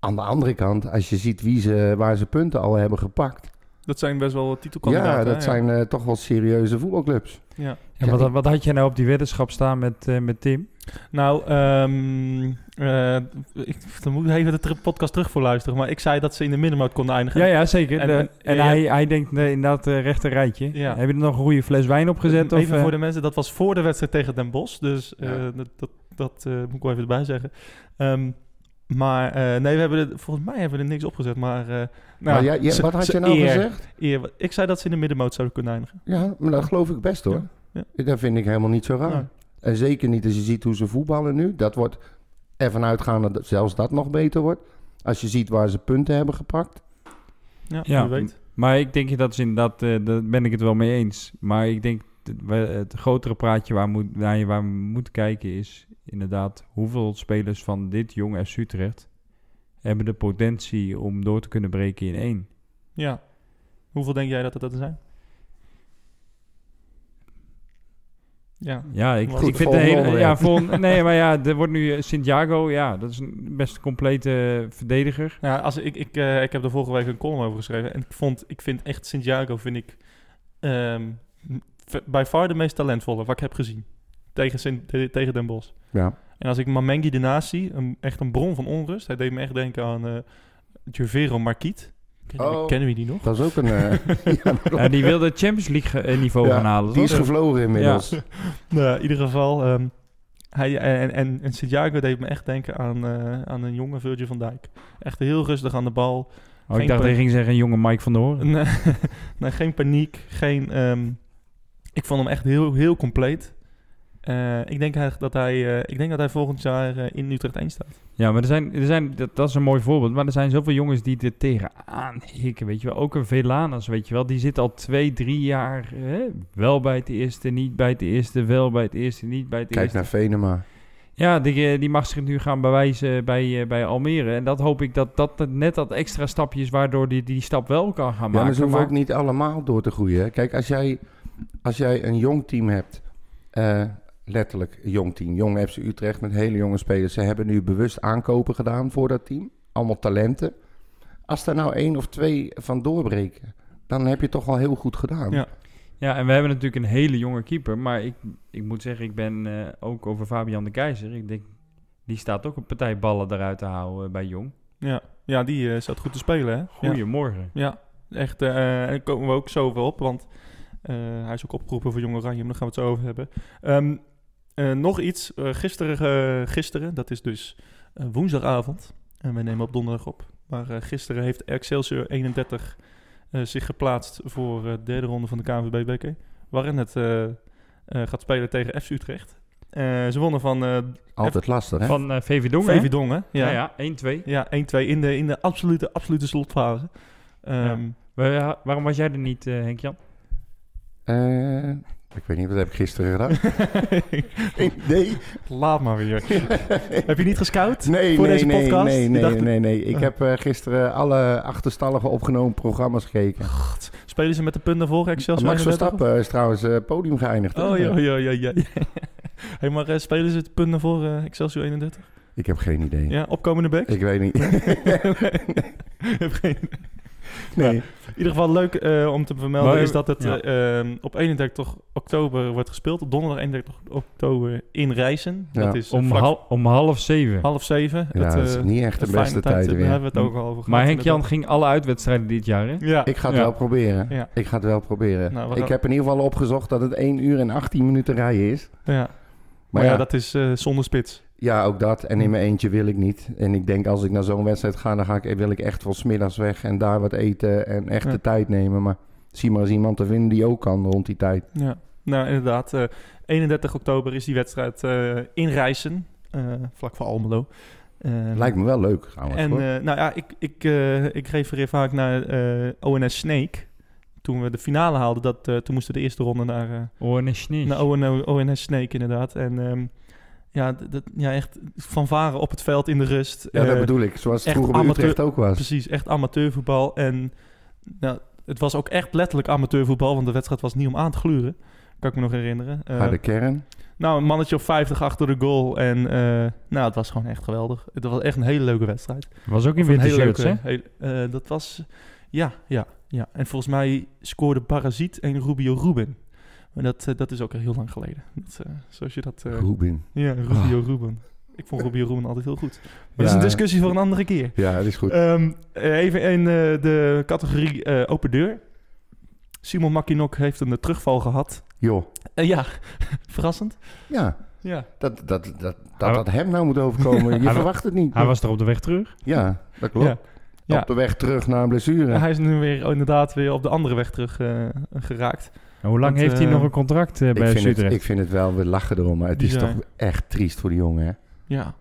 F: aan de andere kant, als je ziet wie ze, waar ze punten al hebben gepakt.
E: Dat zijn best wel titelkandidaten.
F: Ja,
E: hè?
F: dat zijn eh, toch wel serieuze voetbalclubs.
E: Ja.
G: En wat, wat had jij nou op die weddenschap staan met, eh, met Tim?
E: Nou, ehm, eh, ik, dan moet ik even de ter- podcast terug voor luisteren. Maar ik zei dat ze in de middenmoot konden eindigen.
G: Ja, ja, zeker.
E: En-
G: De-
E: en-
G: En,
E: ja, ja.
G: hij, hij denkt eh, inderdaad eh rechter rijtje.
E: Ja.
G: Heb je er nog een goede fles wijn op gezet? Of,
E: even
G: eh,
E: voor de mensen, dat was voor de wedstrijd tegen Den Bosch. Dus eh,
F: Ja.
E: dat, dat, dat eh, moet ik wel even erbij zeggen. Ehm, maar eh, nee, we hebben er, volgens mij hebben we er niks opgezet. Maar eh, nou,
F: maar jij- jij-
E: ze-
F: wat had
E: ze
F: je nou
E: eer-
F: gezegd?
E: eer- ik zei dat ze in de middenmoot zouden kunnen eindigen.
F: Ja, maar dat geloof ik best hoor.
E: Ja,
F: Dat vind ik helemaal niet zo raar.
E: Nou,
F: En zeker niet als je ziet hoe ze voetballen nu. Dat wordt ervan uitgaande dat zelfs dat nog beter wordt. Als je ziet waar ze punten hebben gepakt.
E: Ja,
G: Ja.
E: wie weet.
G: Maar ik denk dat is inderdaad, eh, daar ben ik het wel mee eens. Maar ik denk dat we- het grotere praatje waar, moet, naar je waar we moeten kijken is inderdaad hoeveel spelers van dit jonge FC Utrecht hebben de potentie om door te kunnen breken in één.
E: Ja. Hoeveel denk jij dat het dat er zijn? Ja.
G: Ja, ik,
E: Goed,
G: ik vind de
F: volgende
G: hele.
F: onderwerp.
G: Ja, vol, nee, maar ja, er wordt nu eh, Santiago, ja, dat is een best complete eh, verdediger.
E: Ja, als ik, ik, eh, ik heb er vorige week een column over geschreven. En ik, vond, ik vind echt Santiago vind ik ehm, v- bij far de meest talentvolle wat ik heb gezien. Tegen, Sint- te- tegen Den Bosch.
F: Ja,
E: En als ik Mamengi ernaast zie, een, echt een bron van onrust. Hij deed me echt denken aan eh Gervero Marquiet. Kennen, we,
F: Oh.
E: kennen we die nog?
F: dat is ook een... eh, ja, dat klopt.
G: Ja, die wil het Champions League eh, niveau
F: Ja,
G: gaan halen.
F: die
G: toch?
F: is gevlogen inmiddels.
E: Nou, in ieder geval, ehm, hij, eh, en, en, en Santiago deed me echt denken aan, eh, aan een jonge Virgil van Dijk. Echt heel rustig aan de bal.
G: Oh,
E: Geen
G: ik dacht dat
E: punt.
G: je ging zeggen, jonge Mike van der Hoorn.
E: Nee, nee, geen paniek. Geen, ehm, ik vond hem echt heel, heel compleet. Eh, ik, denk hij- dat hij, eh, ik denk dat hij volgend jaar eh, in Utrecht 1 staat.
G: Ja, maar er zijn, er zijn dat, dat is een mooi voorbeeld. Maar er zijn zoveel jongens die er tegenaan hikken, weet je wel. Ook een Velanas, weet je wel. Die zit al twee, drie jaar hè, wel bij het eerste, niet bij het eerste, wel bij het eerste, niet bij het
F: Kijk
G: eerste.
F: naar Venema.
G: Ja, die, eh, die mag zich nu gaan bewijzen bij, eh, bij Almere. En dat hoop ik dat dat het net dat extra stapje is waardoor die, die stap wel kan gaan
F: Ja,
G: maken.
F: maar ze hoeven
G: Maar-
F: ook niet allemaal door te groeien. hè. Kijk, als jij, als jij een jong team hebt, eh, letterlijk een jong team, jong FC Utrecht met hele jonge spelers. Ze hebben nu bewust aankopen gedaan voor dat team. Allemaal talenten. Als daar nou één of twee van doorbreken, dan heb je het toch al heel goed gedaan.
E: Ja.
G: Ja, en we hebben natuurlijk een hele jonge keeper. Maar ik, ik moet zeggen, ik ben eh, ook over Fabian de Keizer. Ik denk, die staat ook een partij ballen eruit te houden bij Jong.
E: Ja, ja die eh, staat goed te spelen. Hè? Ja.
G: Goedemorgen.
E: Ja, echt. eh, en daar komen we ook zoveel op, want eh, hij is ook opgeroepen voor Jong Oranje, maar daar gaan we het zo over hebben. Ehm, eh, nog iets, eh, gisteren, eh, gisteren, dat is dus eh, woensdagavond, en we nemen op donderdag op. Maar eh, gisteren heeft Excelsior 31 eh, zich geplaatst voor eh, de derde ronde van de KNVB-beker, waarin het eh, eh, gaat spelen tegen FC Utrecht. Eh, ze wonnen van eh
F: Altijd lastig, hè?
G: Van eh VV Dongen.
E: VV Dongen.
G: Ja,
E: Ja, ja.
G: ja, 1-2.
E: 1-2 in de, in de absolute, absolute slotfase. Ehm,
G: Wa- Waarom was jij er niet, eh, Henk-Jan?
F: Eh, ik weet niet, wat heb ik gisteren gedaan? nee, nee,
E: Laat maar weer. Heb je niet gescout?
F: nee,
E: Voor
F: nee,
E: deze
F: nee,
E: podcast?
F: nee,
E: Je
F: nee,
E: dacht-
F: nee, nee. Ik heb eh, gisteren alle achterstallige opgenomen programma's gekeken.
E: Spelen ze met de punten voor Excelsior?
F: Max
E: 31?
F: Verstappen is trouwens eh, podium geëindigd. hè?
E: Oh ja, ja, ja, ja. Hey, maar eh, spelen ze de punten voor eh, Excelsior 31?
F: Ik heb geen idee.
E: Ja, opkomende back?
F: Ik weet niet.
E: Ik heb geen-
F: nee.
E: In ieder geval leuk eh, om te vermelden
G: Maar-
E: is dat het
G: ja.
E: eh, ehm, op 31 oktober wordt gespeeld. Op donderdag 31 oktober in Rijssen.
F: Ja,
E: dat is eh,
G: Om,
E: vlak
G: hal- om half zeven.
E: half zeven.
F: Ja, dat is
E: eh,
F: niet echt de
E: een
F: beste
E: fijne
F: tijd
E: Daar
F: weer.
E: hebben we het ook al over gehad.
G: maar Henk-Jan
E: inderdaad.
G: ging alle uitwedstrijden dit jaar, hè?
E: Ja,
F: Ik ga het
G: Ja.
F: wel proberen.
E: Ja.
F: Ik ga het wel proberen.
E: Nou, we gaan-
F: ik heb in ieder geval opgezocht dat het 1 uur en 18 minuten rijden is. Maar,
E: ja. Maar ja,
F: ja,
E: dat is eh, zonder spits.
F: ja, ook dat. En in mijn eentje wil ik niet. En ik denk als ik naar zo'n wedstrijd ga, dan ga ik, wil ik echt wel smiddags weg en daar wat eten en echt
E: Ja.
F: de tijd nemen. Maar zie maar eens iemand te vinden die ook kan rond die tijd.
E: Ja, nou inderdaad. eh, 31 oktober is die wedstrijd eh, in Rijssen, eh, vlak voor Almelo. Eh,
F: Lijkt me wel leuk trouwens.
E: En
F: hoor.
E: eh, nou ja, ik, ik, eh, ik refereer vaak naar eh, ONS Snake. Toen we de finale haalden, dat, eh, toen moesten we de eerste ronde naar, eh,
G: Oh, en een sneeuw.
E: naar ON ONS Snake inderdaad. En ehm, ja, d- dat, ja, echt van varen op het veld in de rust.
F: ja, dat
E: Eh,
F: bedoel ik. Zoals het
E: echt
F: vroeger bij
E: amateur- Dus,
F: Utrecht ook was.
E: Precies, echt amateurvoetbal. En nou, het was ook echt letterlijk amateurvoetbal, want de wedstrijd was niet om aan te gluren. Kan ik me nog herinneren. Eh,
F: Naar de kern.
E: Nou, een mannetje of 50 achter de goal. En eh, nou, het was gewoon echt geweldig. Het was echt een hele leuke wedstrijd.
G: Was ook in
E: Of een
G: witte
E: hele
G: shirts,
E: leuke.
G: hè?
E: hele- eh, dat was. Ja, ja, ja. En volgens mij scoorde Parasiet en Rubio Ruben. Maar dat, eh, dat is ook al heel lang geleden. Dat, eh, zoals je dat. eh,
F: Rubin.
E: ja, Rubio Ruben. Ik vond Rubio Ruben altijd heel goed. Maar dat is
F: Ja.
E: een discussie voor een andere keer.
F: Ja, dat is goed.
E: Ehm, even in eh, de categorie eh, open deur. Simon Makinok heeft een eh, terugval gehad.
F: Joh.
E: Eh, ja, verrassend.
F: Ja,
E: Ja.
F: dat dat, dat, dat, dat hem nou moet overkomen. Je
G: Hij-
F: verwacht het niet.
G: Hij was er op de weg terug.
F: Ja, dat klopt.
E: Ja. Ja.
F: Op de weg terug naar een blessure.
E: Hij is nu weer inderdaad weer op de andere weg terug eh, geraakt.
G: En hoe lang
E: Want,
G: heeft hij
E: eh,
G: nog een contract eh,
F: ik,
G: bij
F: vind het,
G: Utrecht?
F: ik vind het wel, we lachen erom, maar het is
E: Bizar.
F: toch echt triest voor die jongen. Hè?
E: Ja.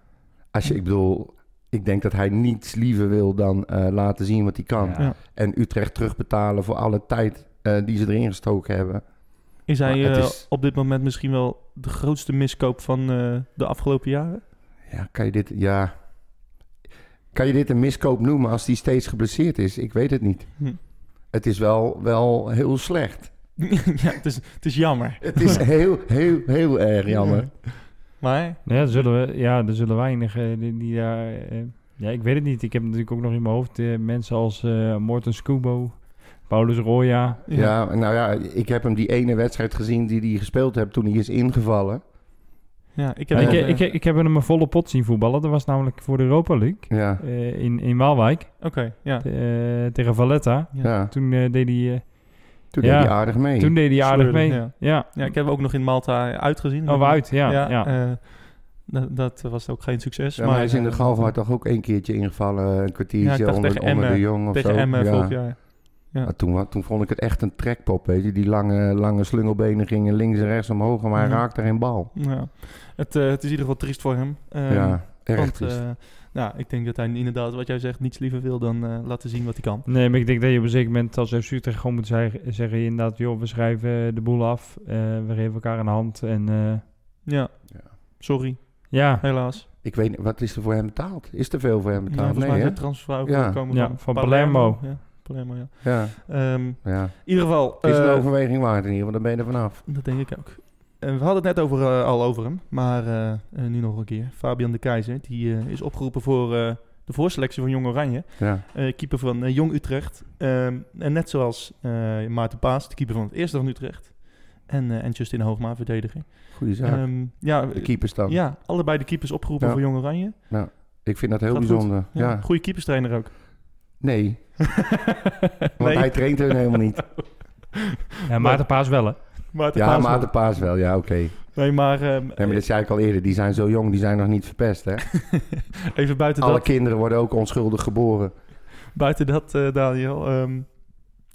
F: Als je, ik bedoel, ik denk dat hij niets liever wil dan eh, laten zien wat hij kan.
G: Ja.
F: En Utrecht terugbetalen voor alle tijd eh, die ze erin gestoken hebben.
E: Is hij
F: Maar het
E: eh,
F: is-
E: op dit moment misschien wel de grootste miskoop van eh, de afgelopen jaren?
F: Ja, kan je dit, ja. Kan je dit een miskoop noemen als die steeds geblesseerd is? Ik weet het niet.
E: Hm.
F: Het is wel, wel heel slecht.
E: ja, het is, het is jammer.
F: Het is heel, heel, heel erg jammer.
E: Maar
G: Ja, er zullen, we, ja, er zullen weinig eh, die, die daar... eh, ja, ik weet het niet. Ik heb natuurlijk ook nog in mijn hoofd eh, mensen als eh Morten Scubo, Paulus Roya.
F: Ja. nou ja, ik heb hem die ene wedstrijd gezien die hij gespeeld heeft toen hij is ingevallen.
E: ja, ik heb,
G: Ik,
F: Ja.
E: nog, eh,
G: ik, ik, ik heb hem een volle pot zien voetballen. Dat was namelijk voor de Europa League
F: Ja,
G: eh, in, in Waalwijk
E: Oké, ja.
G: eh, tegen Valletta.
E: Ja.
F: ja.
G: Toen eh, deed hij... eh,
F: Toen
G: Ja.
F: deed hij aardig mee.
G: Toen deed hij aardig
E: Sleurde,
G: mee.
E: ja.
G: Ja.
E: ja, ik heb ook nog in Malta uitgezien.
G: Oh, uit, ja. ja.
E: eh, da- dat was ook geen succes.
F: Ja, maar hij is in de
E: eh,
F: Galgenwaard toch ook één keertje ingevallen. eh, Een
E: Ja, ik
F: kwartiertje
E: dacht
F: onder,
E: tegen
F: onder de
E: Emmen.
F: jong of
E: Tegen
F: zo.
E: Emmen
F: Ja.
E: vorig jaar. Ja.
F: Maar toen, wa- toen vond ik het echt een trekpop, weet je. Die lange, lange slungelbenen gingen links en rechts omhoog, maar hij
E: Ja.
F: raakte geen bal.
E: Ja. Het, eh, het is in ieder geval triest voor hem. Ehm,
F: ja, erg
E: want,
F: triest.
E: eh, nou, ik denk dat hij inderdaad, wat jij zegt, niets liever wil dan eh, laten zien wat hij kan.
G: Nee, maar ik denk dat je op een zeker moment als FC Utrecht gewoon moet zeggen, zeggen inderdaad, joh, we schrijven eh, de boel af, eh, we geven elkaar een hand en eh,
E: Ja.
F: Ja.
E: Sorry,
G: ja,
E: helaas.
F: ik weet niet, wat is er voor hem betaald? Is er veel voor hem
E: Nou,
F: betaald?
E: volgens
F: Nee,
E: mij
F: hè?
E: zijn transfervrouw
F: Ja.
E: komen
G: Ja,
E: van,
G: van Palermo.
E: Ja, Palermo, ja.
F: Ja,
E: Ehm, in
F: ja.
E: ieder geval...
F: Is een
E: eh,
F: overweging waard in ieder geval, dan ben je er vanaf.
E: Dat denk ik ook. En we hadden het net over, eh, al over hem, maar eh, eh, nu nog een keer. Fabian de Keizer, die eh, is opgeroepen voor eh, de voorselectie van Jong Oranje.
F: Ja,
E: Eh, keeper van eh, Jong Utrecht. Ehm, en net zoals eh, Maarten Paas, de keeper van het eerste van Utrecht. En, eh en Justin Hoogma, verdediger.
F: goede zaak.
E: Ehm, ja,
F: de keepers dan.
E: ja, allebei de keepers opgeroepen
F: Ja.
E: voor Jong Oranje.
F: Ik vind dat heel
E: Gaat goed.
F: bijzonder.
E: Ja.
F: Ja.
E: Goede keeperstrainer ook.
F: Nee, want
E: nee,
F: hij traint hun helemaal niet.
G: ja Maarten Paas wel hè.
E: Maarten
F: ja,
E: Paas wel.
F: maar de paas wel. Ja, oké.
E: Nee, maar, ehm,
F: Nee, maar dat zei ik al eerder. Die zijn zo jong, die zijn nog niet verpest, hè?
E: even buiten
F: Alle
E: dat.
F: kinderen worden ook onschuldig geboren.
E: Buiten dat, eh, Daniel. ehm,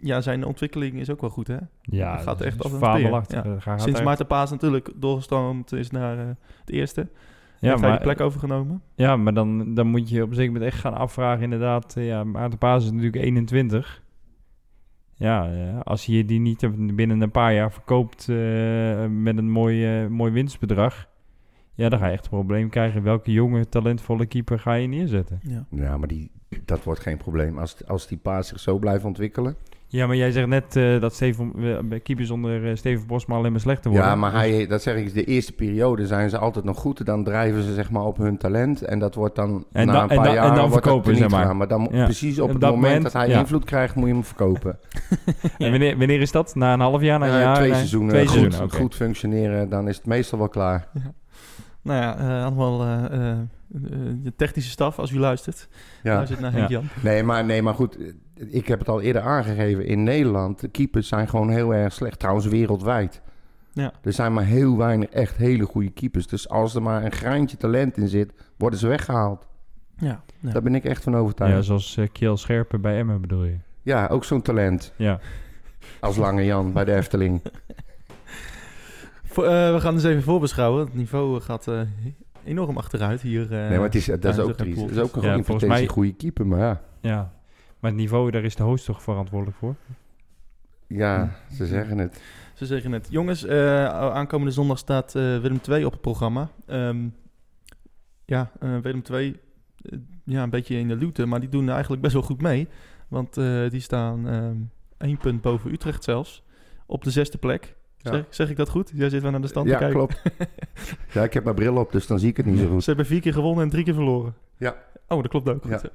E: ja, zijn ontwikkeling is ook wel goed, hè?
G: Ja,
E: Hij gaat
G: dat
E: echt
G: is
E: als een
G: fabelachtig.
E: speer,
G: Dat gaat
E: Sinds
G: echt-
E: Maarten Paas natuurlijk doorgestroomd is naar eh, het eerste.
G: ja,
E: heeft hij
G: maar,
E: die plek overgenomen.
G: ja, maar dan, dan moet je op een zeker moment echt gaan afvragen inderdaad, eh, ja, Maarten Paas is natuurlijk 21. Ja, eh, als je die niet binnen een paar jaar verkoopt eh, met een mooi, eh, mooi winstbedrag, ja, dan ga je echt een probleem krijgen. Welke jonge, talentvolle keeper ga je neerzetten?
E: Ja.
F: Ja, maar die, dat wordt geen probleem. Als, als die paas zich zo blijft ontwikkelen.
G: Ja, maar jij zegt net eh, dat Steven, eh, keepers onder eh, Steven Bosma alleen maar slechter worden.
F: Ja, maar hij, dat zeg ik, de eerste periode zijn ze altijd nog goed. Dan drijven ze zeg maar op hun talent. En dat wordt dan
G: En
F: na
G: dan-
F: een
G: en
F: paar
G: dan- en
F: jaar
G: dan
F: wordt
G: verkopen,
F: dat
G: zeg
F: niet
G: maar.
F: gedaan. Maar dan moet-
G: Ja.
F: precies op
G: Op
F: het
G: dat
F: moment,
G: moment,
F: dat hij
G: ja.
F: invloed krijgt, moet je hem verkopen.
G: En wanneer, wanneer is dat? Na een half jaar, na een
F: Eh,
G: jaar?
F: twee
G: Nee,
F: seizoenen,
G: Twee
F: goed,
G: seizoenen, oké.
F: goed functioneren, dan is het meestal wel klaar.
E: Nou ja, eh, allemaal eh, eh, eh, de technische staf, als u luistert.
F: Ja.
E: Luistert naar Henk
G: Ja.
E: Jan.
F: Nee, maar, nee, maar goed, eh, ik heb het al eerder aangegeven. In Nederland, de keepers zijn gewoon heel erg slecht. Trouwens, wereldwijd.
E: Ja.
F: Er zijn maar heel weinig echt hele goede keepers. Dus als er maar een greintje talent in zit, worden ze weggehaald.
E: Ja. ja.
F: Daar ben ik echt van
G: Ja,
F: overtuigd. Ja,
G: zoals eh, Kiel Scherpen bij Emmen bedoel je.
F: ook zo'n talent
G: Ja.
F: als Lange Jan bij de Efteling.
E: Voor- eh, we gaan dus even voorbeschouwen. Het niveau eh, gaat eh, enorm achteruit hier. eh,
F: nee, maar het is, dat is
E: Tuinzorg
F: ook
E: en
F: triest. Dat is
E: Poeltjes.
F: ook een
G: Ja,
F: in
G: volgens
F: potentie
G: mij-
F: goede keeper, maar ja.
G: ja. Maar het niveau, daar is de host toch verantwoordelijk voor?
F: Ja, ze zeggen het.
E: Ze zeggen net, jongens, eh, aankomende zondag staat eh, Willem 2 op het programma. Ehm, ja, eh, Willem 2, eh, ja, een beetje in de luwte, maar die doen eigenlijk best wel goed mee. Want eh, die staan ehm, één punt boven Utrecht zelfs, op de zesde plek.
F: Ja.
E: Zeg, zeg ik dat goed? Jij zit wel naar de stand
F: ja,
E: te kijken.
F: klopt. ja, ik heb mijn bril op, dus dan zie ik het niet zo goed.
E: Ze hebben vier keer gewonnen en drie keer verloren.
F: Ja.
E: Oh, dat klopt ook. Goed
F: Ja.
E: zo.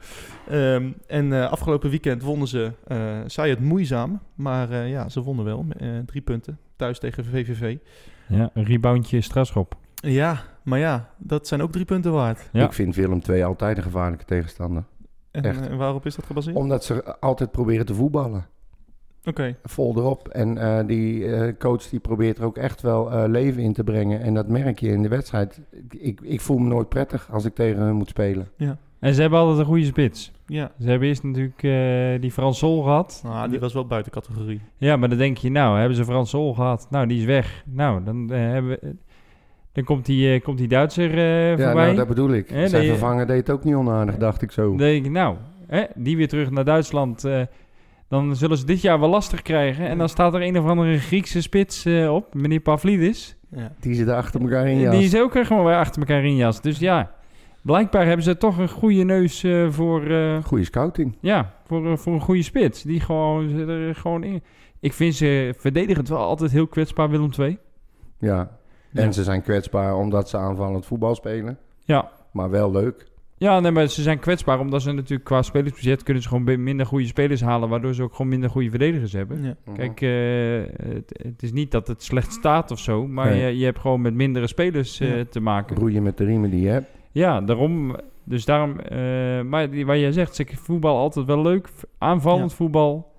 E: Ehm, en eh, afgelopen weekend wonnen ze, eh zij het moeizaam, maar eh, ja, ze wonnen wel. eh, drie punten, thuis tegen VVV.
G: Ja, een reboundje strafschop.
E: Ja, maar ja, dat zijn ook drie punten waard.
G: Ja.
F: Ik vind Willem II altijd een gevaarlijke tegenstander.
E: En
F: Echt.
E: eh, waarop is dat gebaseerd?
F: Omdat ze altijd proberen te voetballen.
E: Oké,
F: vol erop. En eh, die eh, coach die probeert er ook echt wel eh, leven in te brengen. En dat merk je in de wedstrijd. Ik, ik voel me nooit prettig als ik tegen hun moet spelen.
G: En ze hebben altijd een goede spits.
E: ja.
G: Ze hebben eerst natuurlijk eh, die Frans Sol gehad.
E: Nou, die was wel buiten categorie.
G: Ja, maar dan denk je, nou, hebben ze Frans Sol gehad? Nou, die is weg. Nou, dan eh, hebben we... Dan komt die, eh, komt die Duitser eh,
F: Ja,
G: voorbij.
F: nou, dat bedoel ik.
G: Hè,
F: Zijn
G: die-
F: vervanger deed het ook niet onaardig, dacht ik zo.
G: Dan denk ik, nou, hè, die weer terug naar Duitsland. eh, dan zullen ze dit jaar wel lastig krijgen. En dan staat er een of andere Griekse spits eh, op, meneer Pavlidis.
F: Die zitten achter elkaar in, ja.
G: Die is ook er gewoon weer achter elkaar in jas. Dus ja, blijkbaar hebben ze toch een goede neus eh, voor, eh,
F: Goeie scouting.
G: ja, voor, eh, voor een goede spits. Die gewoon, ze er gewoon in. Ik vind ze verdedigend wel altijd heel kwetsbaar, Willem II.
F: Ja. En ze zijn kwetsbaar omdat ze aanvallend voetbal spelen.
G: Ja.
F: Maar wel leuk.
G: Ja, nee, maar ze zijn kwetsbaar omdat ze natuurlijk qua spelersbudget kunnen ze gewoon bi- minder goede spelers halen, waardoor ze ook gewoon minder goede verdedigers hebben.
H: Ja.
G: Kijk, eh, het, het is niet dat het slecht staat of zo, maar
F: Nee.
G: je, je hebt gewoon met mindere spelers eh, te maken.
F: Roeien met de riemen die je hebt.
G: Ja, daarom. Dus daarom, eh, maar die, wat jij zegt, ze voetbal altijd wel leuk, v- aanvallend voetbal.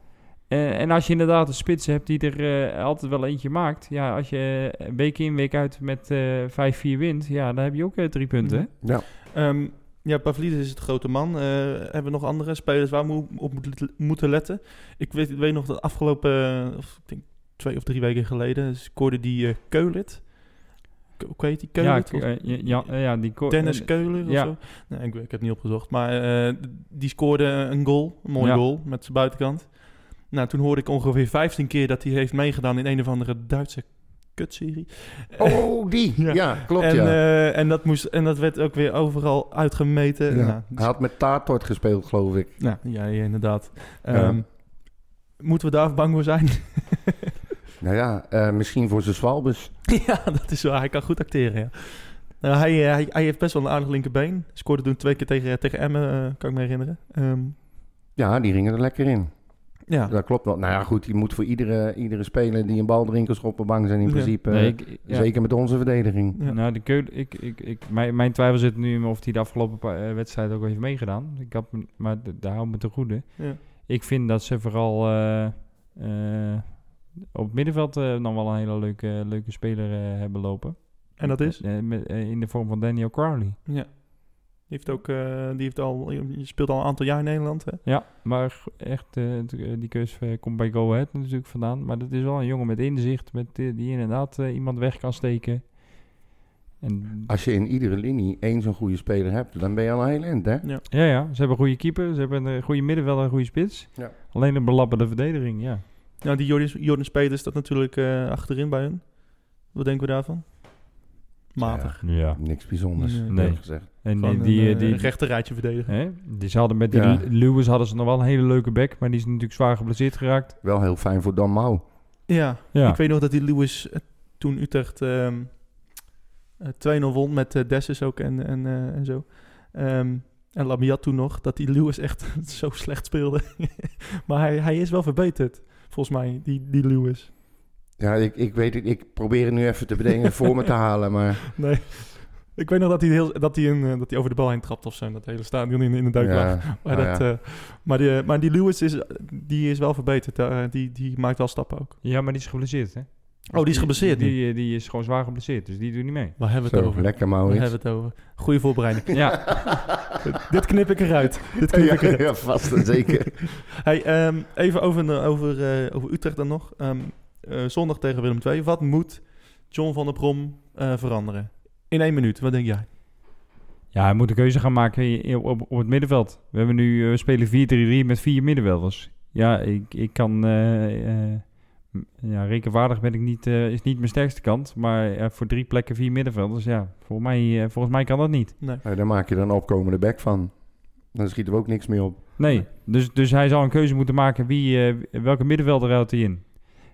G: Eh, en als je inderdaad een spits hebt die er eh, altijd wel eentje maakt, ja, als je eh, week in week uit met eh 5-4 wint, ja, dan heb je ook eh, drie punten. hè?
E: Ehm, ja, Pavlidis is het grote man. Eh, hebben we nog andere spelers waar we mo- op moet- moeten letten? Ik weet, weet nog dat afgelopen eh, of, ik denk twee of drie weken geleden scoorde die eh Keulit. Ke- Hoe heet die
G: Ja,
E: Keulit?
G: k- eh, ja, ja, ja, die ko-
E: Dennis
G: eh,
E: Keulen
G: ja.
E: of zo? Nee, ik, weet- ik heb het niet opgezocht. Maar eh, d- die scoorde een goal, een mooie
G: Ja.
E: goal, met zijn buitenkant. Nou, toen hoorde ik ongeveer 15 keer dat hij heeft meegedaan in een of andere Duitse kutserie.
F: Oh, die. Ja,
E: Ja.
F: klopt
E: en,
F: ja.
E: eh, en, dat moest, en dat werd ook weer overal uitgemeten.
F: Ja.
E: Nou,
F: Hij had met Taartort gespeeld, geloof ik.
E: Nou, ja, ja, inderdaad. Ehm, Moeten we daar bang voor zijn?
F: Nou ja, eh, misschien voor zijn zwalbus.
E: ja, dat is waar. Hij kan goed acteren, ja. Nou, hij, eh, hij, hij heeft best wel een aardig linkerbeen. Scoorde toen twee keer tegen, tegen Emmen, eh, kan ik me herinneren. Ehm,
F: Ja, die gingen er lekker in.
E: ja.
F: Dat klopt wel. Nou ja, goed, je moet voor iedere, iedere speler die een bal erin kan schoppen bang zijn in
E: Ja.
F: principe.
G: nee, ik- ja.
F: Zeker met onze verdediging.
E: Ja.
G: Nou, de Keulen, ik, ik, ik, mijn, mijn twijfel zit nu in of hij de afgelopen paar, eh, wedstrijd ook heeft meegedaan. Ik had, me- maar d- daar hou me te goede.
E: Ja.
G: Ik vind dat ze vooral eh, eh, op het middenveld eh, dan wel een hele leuke, leuke speler eh, hebben lopen.
E: En dat is? Die
G: Eh, met- eh, in de vorm van Daniel Crowley.
E: heeft, ook, eh, die heeft al, die speelt al een aantal jaar in Nederland, hè?
G: Ja, maar g- echt, eh, het- eh, die keus eh, komt bij Go Ahead natuurlijk vandaan. Maar dat is wel een jongen met inzicht, met, eh, die inderdaad eh, iemand weg kan steken. En
F: Als je in iedere linie één zo'n goede speler hebt, dan ben je al een heel eind, hè?
G: Ja, ja. Ze hebben een goede keeper, ze hebben een eh, goede middenvelder, een goede spits.
F: Ja.
G: Alleen een belabberde verdediging, ja.
E: Nou, die Jordan, Jordan Speders staat natuurlijk eh, achterin bij hun. Wat denken we daarvan? Matig.
G: Ja.
F: Niks bijzonders,
E: Nee.
G: Nee.
F: eerlijk gezegd.
G: En
E: Gewoon
G: die, die,
E: een, eh,
G: die,
E: een rechte rijtje verdedigen.
G: hè? die ze hadden met die
F: Ja.
G: Lu- Lewis hadden ze nog wel een hele leuke back, maar die is natuurlijk zwaar geblesseerd geraakt.
F: Wel heel fijn voor Dan Mau.
E: Ja.
G: Ja.
E: Ik weet nog dat die Lewis eh, toen Utrecht ehm, eh, 2-0 won met eh, Dessus ook en, en, eh, en zo. Ehm, en Lamiat toen nog, dat die Lewis echt zo slecht speelde. maar hij, hij is wel verbeterd, volgens mij, die, die Lewis.
F: Ja, ik, ik weet het. Ik probeer het nu even te bedenken voor me te halen, maar...
E: Nee. Ik weet nog dat hij, heel, dat, hij een, eh, dat hij over de bal heen trapt of zo. en Dat hele stadion in, in de duik lag.
F: Ja,
E: Maar,
F: nou
E: dat,
F: ja.
E: eh, maar, die, maar die Lewis is, die is wel verbeterd. eh, die, die maakt wel stappen ook.
G: ja, maar die is geblesseerd, hè?
E: Oh, die is geblesseerd
G: Die,
E: nu.
G: eh, die is gewoon zwaar geblesseerd, dus die doet niet mee.
E: Waar hebben we het
F: Zo,
E: over?
F: lekker
E: Waar
F: Maurits.
E: hebben we het over? Goede voorbereiding.
G: Ja,
E: Dit knip ik eruit. Dit knip ik
F: Ja,
E: eruit.
F: ja, vast en zeker.
E: Hey, ehm, even over, over, eh, over Utrecht dan nog. Ehm, eh, zondag tegen Willem II. Wat moet John van der Brom eh, veranderen? In één minuut, wat denk jij?
G: ja hij moet een keuze gaan maken i- op, op het middenveld. We hebben nu, eh, we spelen 4-3-3 met vier middenvelders. Ja, ik, ik kan... eh, eh, m- ja, rekenwaardig ben ik niet, eh, is niet mijn sterkste kant. Maar eh, voor drie plekken vier middenvelders, ja, volgens mij, eh, volgens mij kan dat niet.
F: Ja, Nou, daar maak je dan opkomende bek van. Dan schieten we ook niks meer op.
G: Nee, dus, dus hij zal een keuze moeten maken wie, eh, welke middenvelder houdt hij in.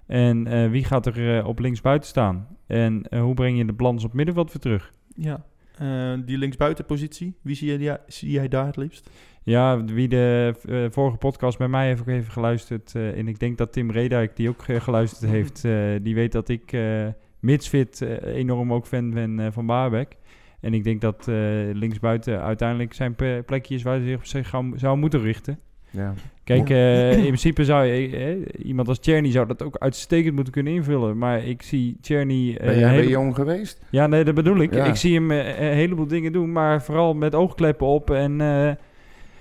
G: En eh, wie gaat er eh, op links buiten staan? En eh, hoe breng je de balans op middenveld weer terug?
E: Ja. Eh, die linksbuitenpositie, wie zie jij, die- zie jij daar het liefst?
G: Ja, wie de eh, vorige podcast bij mij heeft ook even geluisterd. eh, en ik denk dat Tim Redijk, die ook eh, geluisterd heeft, eh, die weet dat ik eh mits fit eh, enorm ook fan ben eh, van Baarbek. En ik denk dat eh, linksbuiten uiteindelijk zijn pe- plekje is waar hij zich op zich gaan- zou moeten richten.
F: Ja.
G: Kijk, eh, in principe zou je, eh, iemand als Tjerny zou dat ook uitstekend moeten kunnen invullen. Maar ik zie Tjerny... eh,
F: Ben jij
G: een
F: bij
G: hele-
F: Jong geweest?
G: Ja, nee, dat bedoel ik.
F: Ja.
G: Ik zie hem eh, een heleboel dingen doen, maar vooral met oogkleppen op. En eh,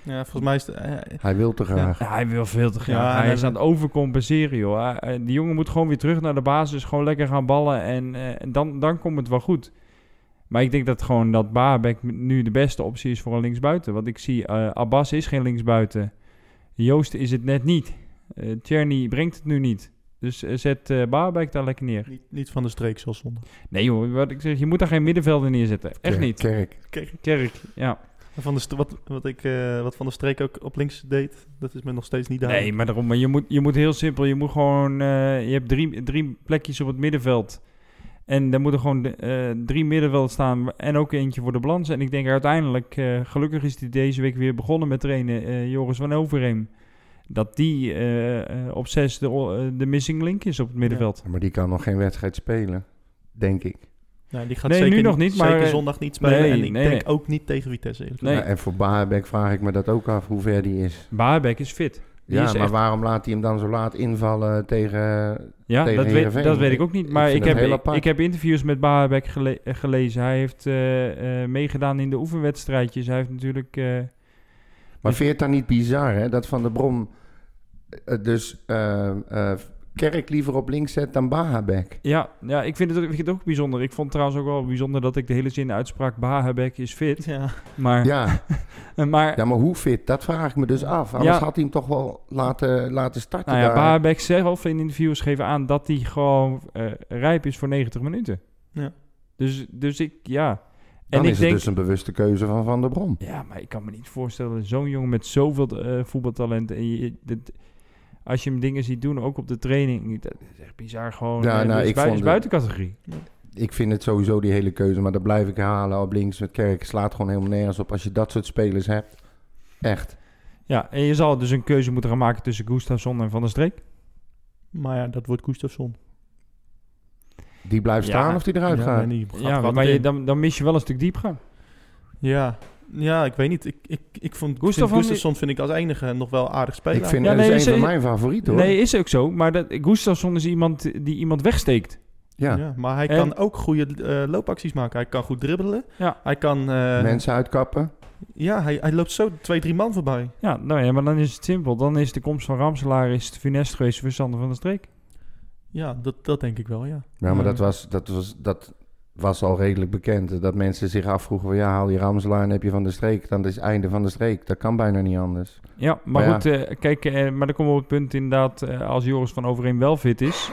E: Ja, volgens mij is het, eh,
F: Hij wil te graag.
G: hij wil veel te graag.
E: Ja,
G: hij
E: nee,
G: is aan het overcompenseren, joh. Hij- eh, hij- die jongen moet gewoon weer terug naar de basis, gewoon lekker gaan ballen. En eh, en dan, dan komt het wel goed. Maar ik denk dat gewoon dat Baabek nu de beste optie is voor een linksbuiten. Want ik zie, eh, Abbas is geen linksbuiten. Joost is het net niet. Eh Tjerni brengt het nu niet. Dus eh, zet eh Baabek daar lekker neer.
E: Niet, niet van de streek zoals zondag.
G: Nee joh, wat ik zeg, je moet daar geen middenvelder neerzetten. Echt niet.
F: Kerk.
G: Kerk, ja.
E: Van de st- wat, wat, ik, eh, wat Van de Streek ook op links deed, dat is me nog steeds niet duidelijk.
G: Nee, maar daarom. Maar je moet, je moet heel simpel. Je moet gewoon. eh, je hebt drie, drie plekjes op het middenveld. En daar moeten gewoon eh, drie middenveld staan. En ook eentje voor de balans. En ik denk uiteindelijk. eh, gelukkig is hij deze week weer begonnen met trainen. eh, Joris van Overheem. Dat die eh, eh, op zes de, eh, de missing link is op het middenveld.
F: Maar die kan nog geen wedstrijd spelen, denk ik.
E: Nou, die gaat
G: Nee,
E: zeker
G: nu nog niet, maar,
E: zeker
G: eh,
E: zondag niet spelen.
G: nee,
E: en ik
G: nee,
E: denk
G: nee.
E: ook niet tegen Vitesse. eerlijk
G: Nee.
F: Ja, Nou, en voor Baabek vraag ik me dat ook af, hoe ver die is.
G: Baarbek is fit. Die
F: ja,
G: is
F: maar
G: echt-
F: waarom laat hij hem dan zo laat invallen tegen...
G: Ja,
F: tegen
G: dat weet,
F: Heerenveen.
G: dat weet ik ook niet.
F: Ik
G: Maar ik,
F: vind het
G: heb,
F: heel
G: ik,
F: apart.
G: ik heb interviews met Baabek gele- eh, gelezen. Hij heeft eh, eh, meegedaan in de oefenwedstrijdjes. Hij heeft natuurlijk. eh,
F: Maar vind je het dan niet bizar, hè? Dat Van der Brom eh, dus eh, eh, Kerk liever op links zet dan Baabek?
G: Ja, ja ik, vind het ook, ik vind het ook bijzonder. Ik vond het trouwens ook wel bijzonder dat ik de hele zin uitspraak... Bahabek is fit.
E: gezegd. Ja.
G: Maar, eh,
F: Ja,
G: maar
F: ja, maar hoe fit? Dat vraag ik me dus af. Anders
G: Ja.
F: had hij hem toch wel laten, laten starten
G: nou ja,
F: daar.
G: Bahabek zelf in interviews geven aan... dat hij gewoon eh, rijp is voor 90 minuten.
E: Ja.
G: Dus, dus ik, ja.
F: Dan
G: en ik
F: is
G: denk,
F: het dus een bewuste keuze van Van der Brom.
G: Ja, maar ik kan me niet voorstellen... zo'n jongen met zoveel eh, voetbaltalent... En je, dit- als je hem dingen ziet doen, ook op de training... dat is echt bizar gewoon.
F: Ja,
G: Eh,
F: nou,
G: dat is,
F: ik
G: bui-
F: vond
G: is
F: het-
G: buiten categorie.
F: Ik vind het sowieso die hele keuze, maar dat blijf ik halen. Op links met Kerk slaat gewoon helemaal nergens op als je dat soort spelers hebt. Echt.
G: Ja, en je zal dus een keuze moeten gaan maken... tussen Gustafsson en Van der Streek.
E: Maar ja, dat wordt Gustafsson.
F: Die blijft
G: Ja.
F: staan of die eruit
E: Ja,
F: gaat.
E: nee, die gaat er
G: Ja,
E: altijd
G: maar je,
E: in.
G: dan, dan mis je wel een stuk diepgang.
E: Ja. ja, ik weet niet. Ik, ik, ik
G: Gustafsson-
E: vond Gustafsson, Gustafsson vind ik als enige nog wel aardig spelen.
F: ik vind
G: Ja,
F: dat
G: nee,
F: is
G: ze-
F: een van mijn favorieten hoor.
G: Nee, is ook zo. Maar dat, Gustafsson is iemand die iemand wegsteekt.
F: ja.
E: ja. maar hij
G: En-
E: kan ook goede eh, loopacties maken. Hij kan goed dribbelen.
G: Ja.
E: Hij kan... eh,
F: Mensen uitkappen.
E: Ja, hij, hij loopt zo twee, drie man voorbij.
G: Ja, nou ja, maar dan is het simpel. Dan is de komst van Ramselaar is het funest geweest voor Sander van der Streek.
E: Ja, dat, dat denk ik wel, ja.
F: Ja, Nou, maar
G: Ja.
F: dat was, dat, was, dat was al redelijk bekend. Dat mensen zich afvroegen van ja, haal die Ramselaar en heb je van de streek. Dan is het einde van de streek. Dat kan bijna niet anders.
G: Ja, maar
F: Maar ja.
G: goed, eh, kijk, eh, maar dan komen we op het punt inderdaad, eh, als Joris van Overeem wel fit is,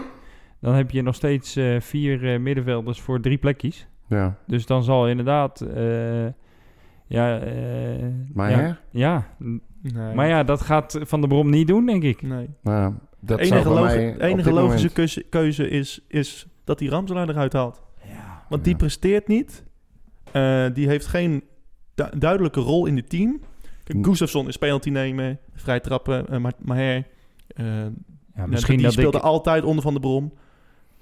G: dan heb je nog steeds eh, vier eh, middenvelders voor drie plekjes.
F: Ja.
G: Dus dan zal inderdaad, eh, ja, eh,
F: Maar
G: ja,
F: hè?
G: ja,
E: Nee.
G: maar ja, dat gaat Van der Brom niet doen, denk ik.
E: Nee.
F: Nou, dat
E: De enige,
F: zou voor
E: logi-
F: mij
E: de
F: op
E: enige
F: dit
E: logische
F: moment-
E: keuze, keuze is, is dat die Ramselaar eruit haalt.
G: Ja,
E: Want die
F: Ja.
E: presteert niet. Eh, die heeft geen du- duidelijke rol in het team. Kijk,
F: Hm.
E: Gustafsson is penalty nemen, vrij trappen, eh, Ma- Maher. eh,
G: ja
E: nou,
G: misschien
E: die
G: dat
E: speelde
G: ik...
E: altijd onder Van de Brom.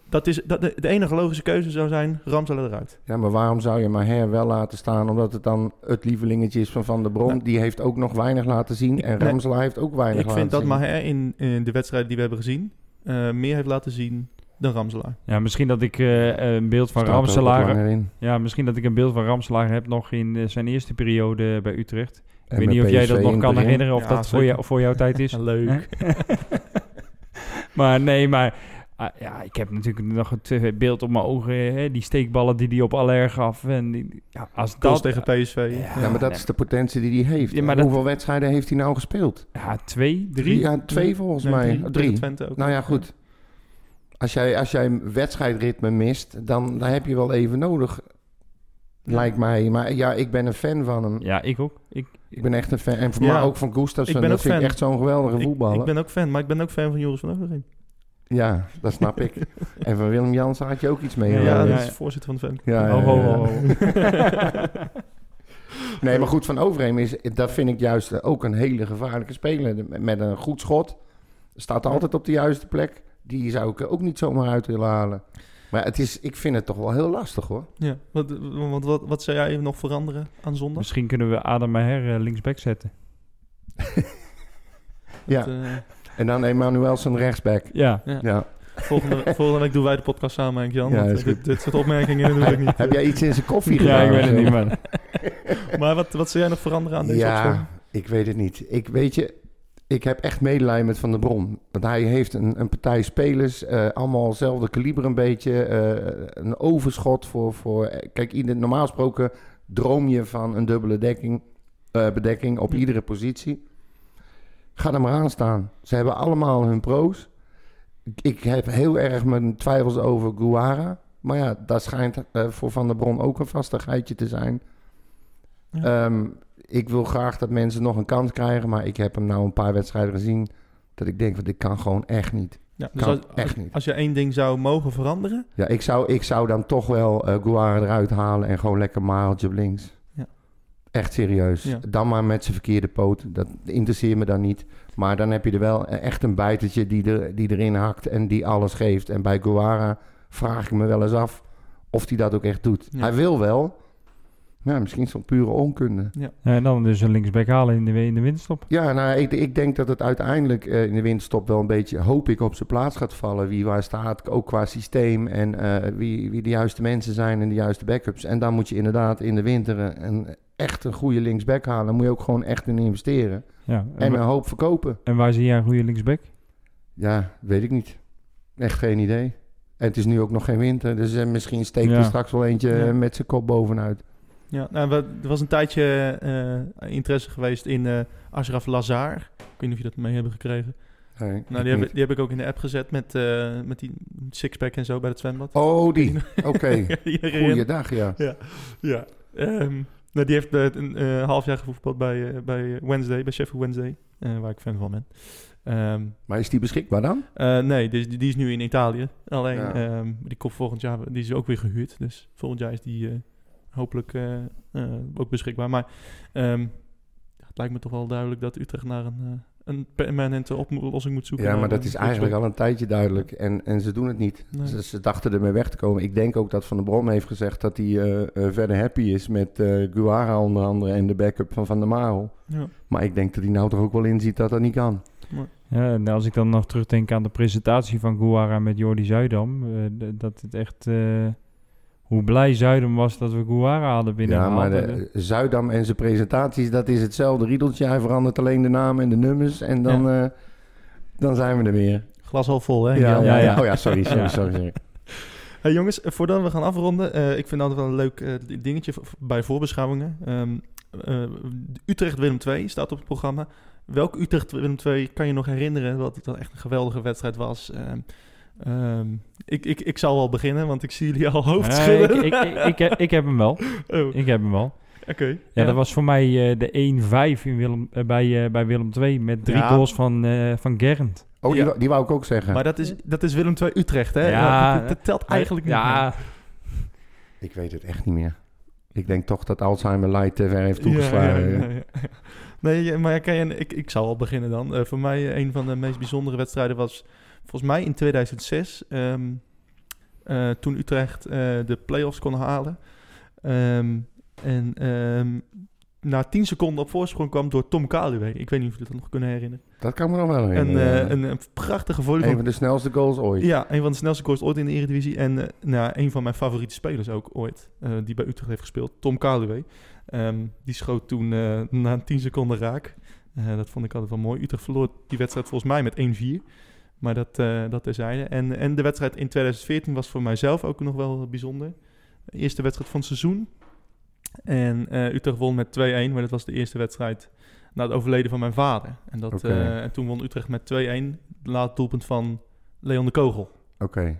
E: Dat is, dat, de, de enige logische keuze zou zijn, Ramselaar eruit.
F: Ja, maar waarom zou je Maher wel laten staan? Omdat het dan het lievelingetje is van Van der Brom. Die heeft ook nog weinig laten zien. En
E: Nee.
F: Ramselaar heeft ook weinig
E: Ik
F: laten
E: vind dat
F: zien.
E: Maher in, in de wedstrijden die we hebben gezien... eh, meer heeft laten zien dan Ramselaar.
G: Ja, misschien dat ik eh, een beeld van
F: Staat er ook wat
G: Ramselaar
F: langer in.
G: Ja, misschien dat ik een beeld van Ramslaar heb nog in eh, zijn eerste periode bij Utrecht.
F: En
G: ik weet
F: met
G: niet of jij dat
F: PSV in
G: nog
F: het
G: kan
F: begin.
G: herinneren of
E: Ja,
G: dat voor,
E: zeker.
G: jou, voor jouw tijd is.
E: Leuk.
G: maar nee, maar ah, ja, ik heb natuurlijk nog het eh, beeld op mijn ogen. Hè, die steekballen die hij op Aller gaf. En die, ja, als
E: Dat
G: dat...
E: tegen PSV.
G: Ja,
F: Ja, maar dat is de potentie die hij heeft.
G: Ja, maar dat-
F: Hoeveel wedstrijden heeft hij nou gespeeld?
G: Ja, twee, drie.
F: Ja, twee volgens
E: Nee,
F: mij.
E: Drie.
F: drie.
E: Tegen Twente ook.
F: Nou ja, goed. Als jij, als jij een wedstrijdritme mist, dan, dan heb je wel even nodig. Lijkt mij. Maar ja, ik ben een fan van hem.
G: Ja, ik ook. Ik,
F: Ik ben echt een fan. En voor
E: Ja.
F: mij ook van Gustafsson.
E: Ik ben
F: Dat
E: ook
F: vind ik
E: fan.
F: echt zo'n geweldige
E: Ik,
F: voetballer.
E: ik ben ook fan, maar ik ben ook fan van Joris van Overheem.
F: Ja, dat snap ik. en van Willem Jansen had je ook iets mee.
G: Ja,
E: Ja, Oh,
F: hoor.
E: dat
G: ja, ja.
E: is voorzitter van de fan.
F: Ja, ja,
G: Ho,
F: ja,
G: ho,
F: ja.
G: ho, ho. oh,
F: Nee, maar goed, Van Overheem is... Dat vind ik juist ook een hele gevaarlijke speler. Met een goed schot. Staat altijd op de juiste plek. Die zou ik er ook niet zomaar uit willen halen. Maar het is, ik vind het toch wel heel lastig, hoor.
E: Ja, want wat, wat, wat zou jij nog veranderen aan zondag?
G: Misschien kunnen we Adam Maher eh, linksback zetten.
F: Dus, Ja.
E: Dat, eh,
F: En dan Emanuelsen rechtsback.
G: Ja.
F: Ja.
E: volgende, volgende week doen wij de podcast samen, Henk Jan.
F: Ja,
E: want eh,
F: is goed.
E: dit, dit soort opmerkingen doe ik niet.
F: Heb jij iets in zijn koffie
G: Ja,
F: gedaan?
G: ik weet het
F: of zo?
G: niet, man.
E: Maar wat, wat zou jij nog veranderen aan deze
F: ja,
E: opstelling?
F: ik weet het niet. Ik weet je, ik heb echt medelijden met Van der Bron. Want hij heeft een, een partij spelers, eh, allemaal hetzelfde kaliber een beetje. eh, een overschot voor... voor eh, kijk, ieder, normaal gesproken droom je van een dubbele dekking, eh, bedekking op iedere positie. Ga er maar aan staan. Ze hebben allemaal hun pro's. Ik- Ik heb heel erg mijn twijfels over Guara. Maar ja, daar schijnt eh, voor Van der Bron ook een vastigheidje te zijn.
E: Ja.
F: Ehm, ik wil graag dat mensen nog een kans krijgen. Maar ik heb hem nou een paar wedstrijden gezien. Dat ik denk, van, dit kan gewoon echt niet.
E: Ja, dus
F: Kan
E: als, als,
F: echt niet.
E: als je één ding zou mogen veranderen,
F: Ja, ik zou, ik zou dan toch wel eh Guara eruit halen en gewoon lekker Mareltje op links.
E: Ja.
F: Echt serieus.
E: Ja.
F: Dan maar met zijn verkeerde poot. Dat interesseert me dan niet. Maar dan heb je er wel eh, echt een bijtertje die, er, die erin hakt en die alles geeft. En bij Guara vraag ik me wel eens af of hij dat ook echt doet.
E: Ja.
F: Hij wil wel. Ja, misschien is het pure onkunde.
G: En dan dus een linksback halen in de, in de winterstop.
F: Ja, nou, ik, ik denk dat het uiteindelijk eh, in de winterstop wel een beetje, hoop ik, op zijn plaats gaat vallen. Wie waar staat, ook qua systeem en eh, wie, wie de juiste mensen zijn en de juiste backups. En dan moet je inderdaad in de winter een- een, echt een goede linksback halen. Daar moet je ook gewoon echt in investeren.
G: Ja. En,
F: En een hoop verkopen.
G: en waar zie jij een goede linksback?
F: Ja, weet ik niet. Echt geen idee. En het is nu ook nog geen winter, dus eh, misschien steekt
G: Ja.
F: er straks wel eentje
E: Ja.
F: eh, met zijn kop bovenuit.
E: ja, nou, we- er was een tijdje eh, interesse geweest in eh, Ashraf Lazar. Ik weet niet of je dat mee hebben gekregen.
F: Nee,
E: Nou,
F: ik
E: die heb,
F: niet.
E: ik- die heb ik ook in de app gezet met, eh, met die sixpack en zo bij het zwembad.
F: Oh, die. Oké.
E: Iedereen-
F: Goeiedag, ja.
E: Ja. Ehm, nou, die heeft eh, een eh, half jaar gevoetbald bij, eh, bij Wednesday, bij Sheffield Wednesday, eh, waar ik fan van ben. Ehm,
F: Maar is die beschikbaar dan?
E: eh, nee, dus die, die is nu in Italië. Alleen,
F: Ja.
E: ehm, die komt volgend jaar, die is ook weer gehuurd. Dus volgend jaar is die eh, hopelijk eh, eh, ook beschikbaar. Maar ehm, ja, het lijkt me toch wel duidelijk dat Utrecht naar een, eh, een permanente oplossing moet zoeken.
F: Ja, maar
E: naar
F: dat
E: een
F: is
E: club.
F: eigenlijk al een tijdje duidelijk. En, en ze doen het niet.
E: Nee.
F: Ze, ze dachten ermee weg te komen. Ik denk ook dat Van der Brom heeft gezegd dat hij eh, eh, verder happy is met eh Guara onder andere en de backup van Van der Marel.
E: Ja.
F: Maar ik denk dat hij nou toch ook wel inziet dat dat niet kan.
G: Ja, en als ik dan nog terugdenk aan de presentatie van Guara met Jordi Zuidam. eh, d- dat het echt... eh, hoe blij Zuidam was dat we Guara hadden
F: Ja, maar
G: binnengehaald.
F: de, eh, Zuidam en zijn presentaties, dat is hetzelfde riedeltje. Hij verandert alleen de namen en de nummers en dan, eh, dan zijn we er weer.
E: Glas half vol, hè?
F: ja,
G: ja, ja.
F: Oh ja, sorry, sorry,
G: Ja.
F: sorry. sorry.
E: Hey jongens, eh, voordat we gaan afronden, eh, ik vind altijd wel een leuk eh, dingetje v- bij voorbeschouwingen. Ehm, eh, Utrecht Willem 2 staat op het programma. Welke Utrecht Willem 2 kan je nog herinneren? Wat het dan echt een geweldige wedstrijd was. Ehm, ehm, ik, ik, ik zal wel beginnen, want ik zie jullie al hoofd
G: Ja, ik,
E: schudden.
G: ik, ik, ik, heb- ik heb hem wel.
E: Oh, oké.
G: Ik heb hem wel. Ja, dat was voor mij eh, de 1-5 in Willem, eh, bij, eh, bij Willem 2 met drie
E: Ja.
G: goals van, eh, van Gerrand.
F: Oh, die,
E: Ja.
F: wou- die wou ik ook zeggen.
E: Maar dat is, dat is Willem 2 Utrecht, hè? Eh,
G: Ja.
E: dat, dat telt eigenlijk niet.
G: ja,
E: meer.
F: Ik weet het echt niet meer. Ik denk toch dat Alzheimer Light te ver heeft
E: Ja,
F: toegeslagen.
E: ja, ja, ja. Nee, ja, maar kan je, ik, ik zal al beginnen dan. Eh, voor mij eh, een van de meest bijzondere wedstrijden was volgens mij in 2006. ehm, eh, toen Utrecht eh, de play-offs kon halen. Ehm, en ehm, na 10 seconden op voorsprong kwam door Tom Kaluwe. Ik weet niet of jullie dat nog kunnen herinneren.
F: Dat kan me nog wel
E: Een,
F: herinneren.
E: eh, een, een prachtige volley
F: Een
E: van
F: van de snelste goals ooit.
E: ja, een van de snelste scores ooit in de Eredivisie. En eh, nou, een van mijn favoriete spelers ook ooit, eh, die bij Utrecht heeft gespeeld, Tom Kaluwe. Ehm, die schoot toen eh, na 10 seconden raak. Eh, dat vond ik altijd wel mooi. Utrecht verloor die wedstrijd volgens mij met 1-4. Maar dat, eh dat terzijde. En, en de wedstrijd in 2014 was voor mijzelf ook nog wel bijzonder. De eerste wedstrijd van het seizoen. En eh, Utrecht won met 2-1, maar dat was de eerste wedstrijd na het overleden van mijn vader. En, dat,
F: Oké.
E: eh, en toen won Utrecht met 2-1. Laat doelpunt van Leon de Kogel.
F: Oké.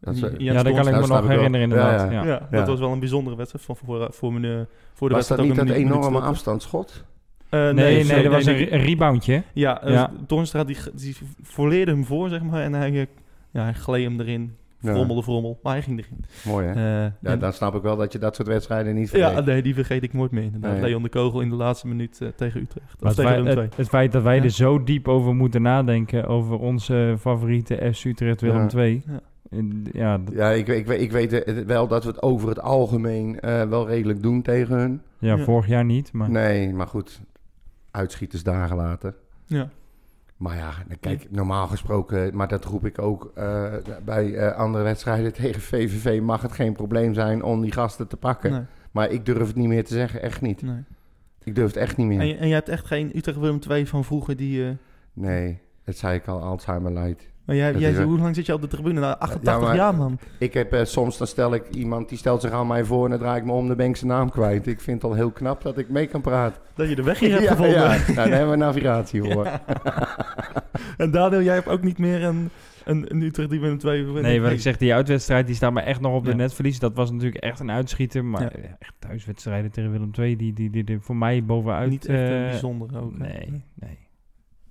F: Dat is, eh,
E: Jens
G: ja, dat kan
E: Dons.
G: ik me
F: dat snap
G: nog
F: ik wel.
G: herinneren
F: Ja,
G: inderdaad.
F: ja.
G: Ja,
E: ja,
F: Ja.
E: dat was wel een bijzondere wedstrijd voor, voor, voor, mijn, eh, voor de
F: Was dat
E: wedstrijd. ook
F: niet dat
E: een minuut-
F: enorme
E: minuut-
F: afstand schot?
E: Eh,
G: Nee, nee,
E: sorry,
G: dat was een,
E: die-
G: re- een reboundje.
E: Ja, eh,
G: Ja.
E: Dornstra die, g- die volleerde hem voor, zeg maar. En hij, eh, ja, hij gleed hem erin.
F: Ja.
E: Frommelde, frommel. Maar hij ging erin.
F: Mooi hè?
E: Eh,
F: ja,
E: en-
F: dan snap ik wel dat je dat soort wedstrijden niet vergeet.
E: ja, nee, die vergeet ik nooit meer. Inderdaad.
F: Nee.
E: Leon de Kogel in de laatste minuut eh, tegen Utrecht.
G: Maar het,
E: Of tegen
G: feit,
E: Willem II.
G: het, het feit dat wij
E: Ja.
G: er zo diep over moeten nadenken, over onze favoriete FC Utrecht Willem
F: Ja.
G: 2.
E: Ja.
G: En, Ja, dat-
F: Ja, ik, ik, ik weet eh, wel dat we het over het algemeen eh, wel redelijk doen tegen hun.
G: ja,
E: Ja.
G: vorig jaar niet, maar...
F: Nee, maar goed. Uitschieters dagen later.
E: Ja.
F: Maar ja, dan kijk, normaal gesproken, maar dat roep ik ook eh, bij eh, andere wedstrijden tegen VVV, mag het geen probleem zijn om die gasten te pakken.
E: Nee,
F: Maar ik durf het niet meer te zeggen, echt niet.
E: nee.
F: Ik durf het echt niet meer.
E: En, je- en jij hebt echt geen Utrecht Willem II van vroeger die... eh,
F: Nee, dat zei ik al, Alzheimer lijdt.
E: Maar jij,
F: Dat
E: jij,
F: is wel-
E: hoe lang zit je op de tribune? Nou, 88
F: Ja, maar-
E: jaar, man.
F: Ik heb eh, soms, dan stel ik iemand, die stelt zich aan mij voor en dan draai ik me om, dan ben ik zijn naam kwijt. Ik vind het al heel knap dat ik mee kan praten.
E: Dat je de weg hier hebt gevonden.
F: ja. Nou, daar hebben we navigatie voor.
E: En Daniel, jij hebt ook niet meer een, een, een Utrecht die met een twee wint.
G: Nee, wat ik zeg, die uitwedstrijd die staat me echt nog op de
E: Ja.
G: netverlies. Dat was natuurlijk echt een uitschieter. Maar
E: Ja.
G: eh, echt thuiswedstrijden tegen Willem II, die, die, die, die voor mij bovenuit...
E: Niet echt een
G: eh,
E: bijzonder ook. hè?
G: Nee, nee.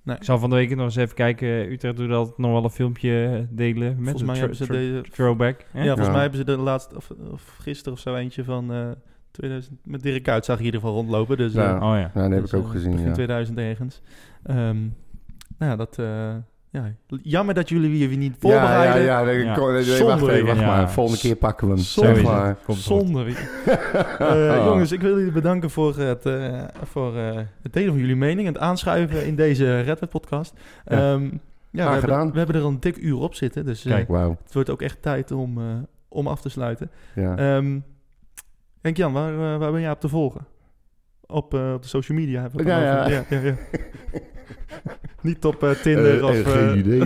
E: Nee.
G: Ik zal van de week nog eens even kijken. Utrecht doet altijd nog wel een filmpje delen. Met
E: Volgens
G: een
E: mij
G: thr-
E: hebben ze
G: thr-
E: deze...
G: throwback. hè?
E: Ja, volgens
F: Ja.
E: mij hebben ze de laatste... Of, of gisteren of zo eentje van... eh 2000, met Dirk Kuyt zag je in ieder geval rondlopen. Dus, eh,
F: Ja.
G: Oh ja.
F: Nou, dat heb
E: dus,
F: ik ook
E: eh,
F: gezien,
E: Begin
F: ja.
E: 2000 ergens. Ehm, nou ja, dat... eh, ja. Jammer dat jullie je weer niet
F: Ja, ja,
E: voorbereiden.
F: ja. nee,
G: Ja.
F: kon- nee, wacht
E: Zonde,
F: even, wacht
G: ja.
F: maar. Volgende keer pakken we hem.
E: Zonde.
F: Zeg maar.
G: Komt goed.
E: Zonde. weet je. Eh, jongens, ik wil jullie bedanken voor het, eh, voor, eh, het delen van jullie mening en het aanschuiven in deze Red Hat podcast.
F: Ja.
E: Ehm, ja, we,
F: gedaan.
E: Hebben, we hebben er al een dik uur op zitten, dus eh,
G: Kijk.
F: Oh, Wauw.
E: het wordt ook echt tijd om, eh, om af te sluiten.
F: Ja.
E: Ehm Henk-Jan, waar, eh, waar ben jij op te volgen? Op, eh, op de social media? heb ik het
F: Ja,
E: al over.
F: ja.
E: ja, ja. Niet op eh, Tinder
F: Eh,
E: of...
F: eh,
E: eh,
F: geen idee.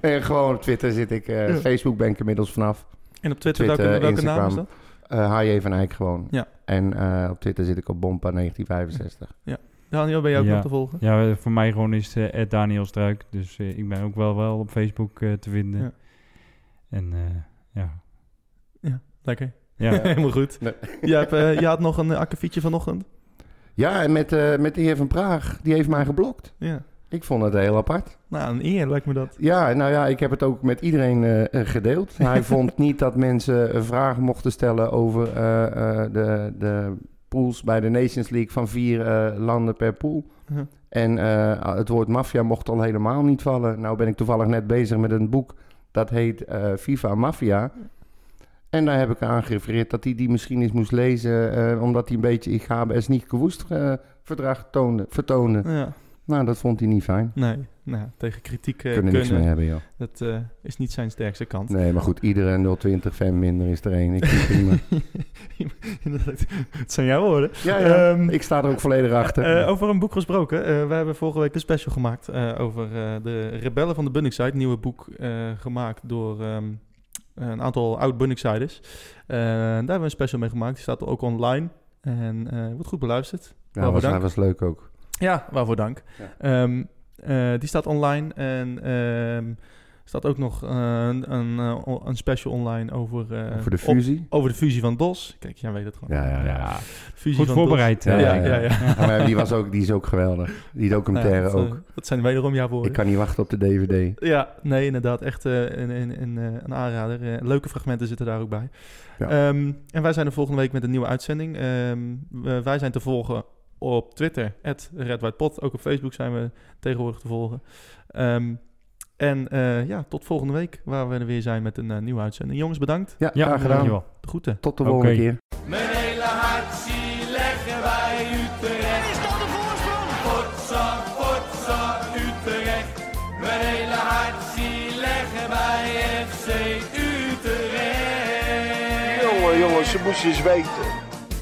F: en gewoon op Twitter zit ik. eh,
E: Ja.
F: Facebook ben ik inmiddels vanaf.
E: en op Twitter,
F: Twitter,
E: welke, welke naam is
F: Instagram.
E: dat?
F: Eh HJ van Eyck gewoon.
E: Ja.
F: En eh, op Twitter zit ik op Bompa1965.
E: Daniel, ben jij ook
G: Ja.
E: nog te volgen?
G: Ja, eh, voor mij gewoon is het Daniel Struik. Dus eh, ik ben ook wel, wel op Facebook eh, te vinden.
E: Ja.
G: En eh, ja.
E: Lekker.
G: Ja.
E: Helemaal goed.
F: Nee.
E: Jij, hebt, eh, jij had nog een uh, akkefietje vanochtend?
F: Ja, en met, eh, met de heer van Praag. Die heeft mij geblokt.
E: Ja.
F: Ik vond het heel apart.
E: Nou, een eer lijkt me dat.
F: Ja, nou ja, ik heb het ook met iedereen eh, eh, gedeeld. Hij vond niet dat mensen eh, vragen mochten stellen over eh, eh, de, de pools bij de Nations League van vier eh, landen per pool.
E: Ja.
F: En eh, het woord maffia mocht al helemaal niet vallen. Nou ben ik toevallig net bezig met een boek dat heet eh, FIFA Mafia. En daar heb ik aan gerefereerd dat hij die misschien eens moest lezen... eh, omdat hij een beetje ik HBS niet gewoest eh, verdrag toonde, vertoonde.
E: Ja.
F: Nou, dat vond hij niet fijn.
E: Nee, nou, tegen kritiek eh,
F: Kunnen
E: kunnen,
F: niks meer hebben, joh.
E: dat eh, is niet zijn sterkste kant.
F: Nee, maar goed, iedere 020 fan minder is er één. Ik vind het prima.
E: Inderdaad. het zijn jouw woorden.
F: Ja, ja.
E: Ehm,
F: ik sta er ook volledig achter.
E: Eh, over een boek gesproken. Eh, we hebben vorige week een special gemaakt eh, over eh, de Rebellen van de Bunningside. Een nieuwe boek eh, gemaakt door ehm, een aantal oud Bunningsiders. Eh, daar hebben we een special mee gemaakt. Die staat ook online en eh, wordt goed beluisterd.
F: ja, was,
E: oh, bedankt.
F: hij was leuk ook.
E: Ja, waarvoor dank. Ehm, eh, die staat online en ehm, staat ook nog eh, een, een, eh, o- een special online over, eh,
F: Voor de
E: op-
F: fusie.
E: over de fusie van DOS. Kijk, jij weet het gewoon.
F: Ja, ja, ja.
E: Fusie
G: Goed
E: van
G: voorbereid.
E: DOS.
G: eh.
E: Ja, ja, ja. ja.
F: Ja, maar die, was ook, die is ook geweldig. Die
E: Ja,
F: documentaire
E: dat, eh,
F: ook.
E: dat zijn wederom jouw woorden.
F: Ik kan niet wachten op de DVD.
E: Ja, nee, inderdaad. Echt eh, een, een, een, eh, een aanrader. Eh, leuke fragmenten zitten daar ook bij.
F: Ja.
E: Ehm, en wij zijn er volgende week met een nieuwe uitzending. Ehm, we- wij zijn te volgen op Twitter, @redwhitepod. Ook op Facebook zijn we tegenwoordig te volgen. Ehm, en eh, ja, tot volgende week, waar we er weer zijn met een eh, nieuwe uitzending. Jongens, bedankt.
F: Ja,
G: Ja,
F: graag gedaan.
G: dankjewel.
E: De groeten.
F: Tot de
G: Oké.
F: volgende keer.
A: Mijn hele hart zie leggen wij Utrecht.
D: Is dat de voorsprong?
A: Potsa, potsa, Utrecht. Mijn hele hart zie leggen wij FC Utrecht.
C: Jongen, jongens, ze moest je eens weten.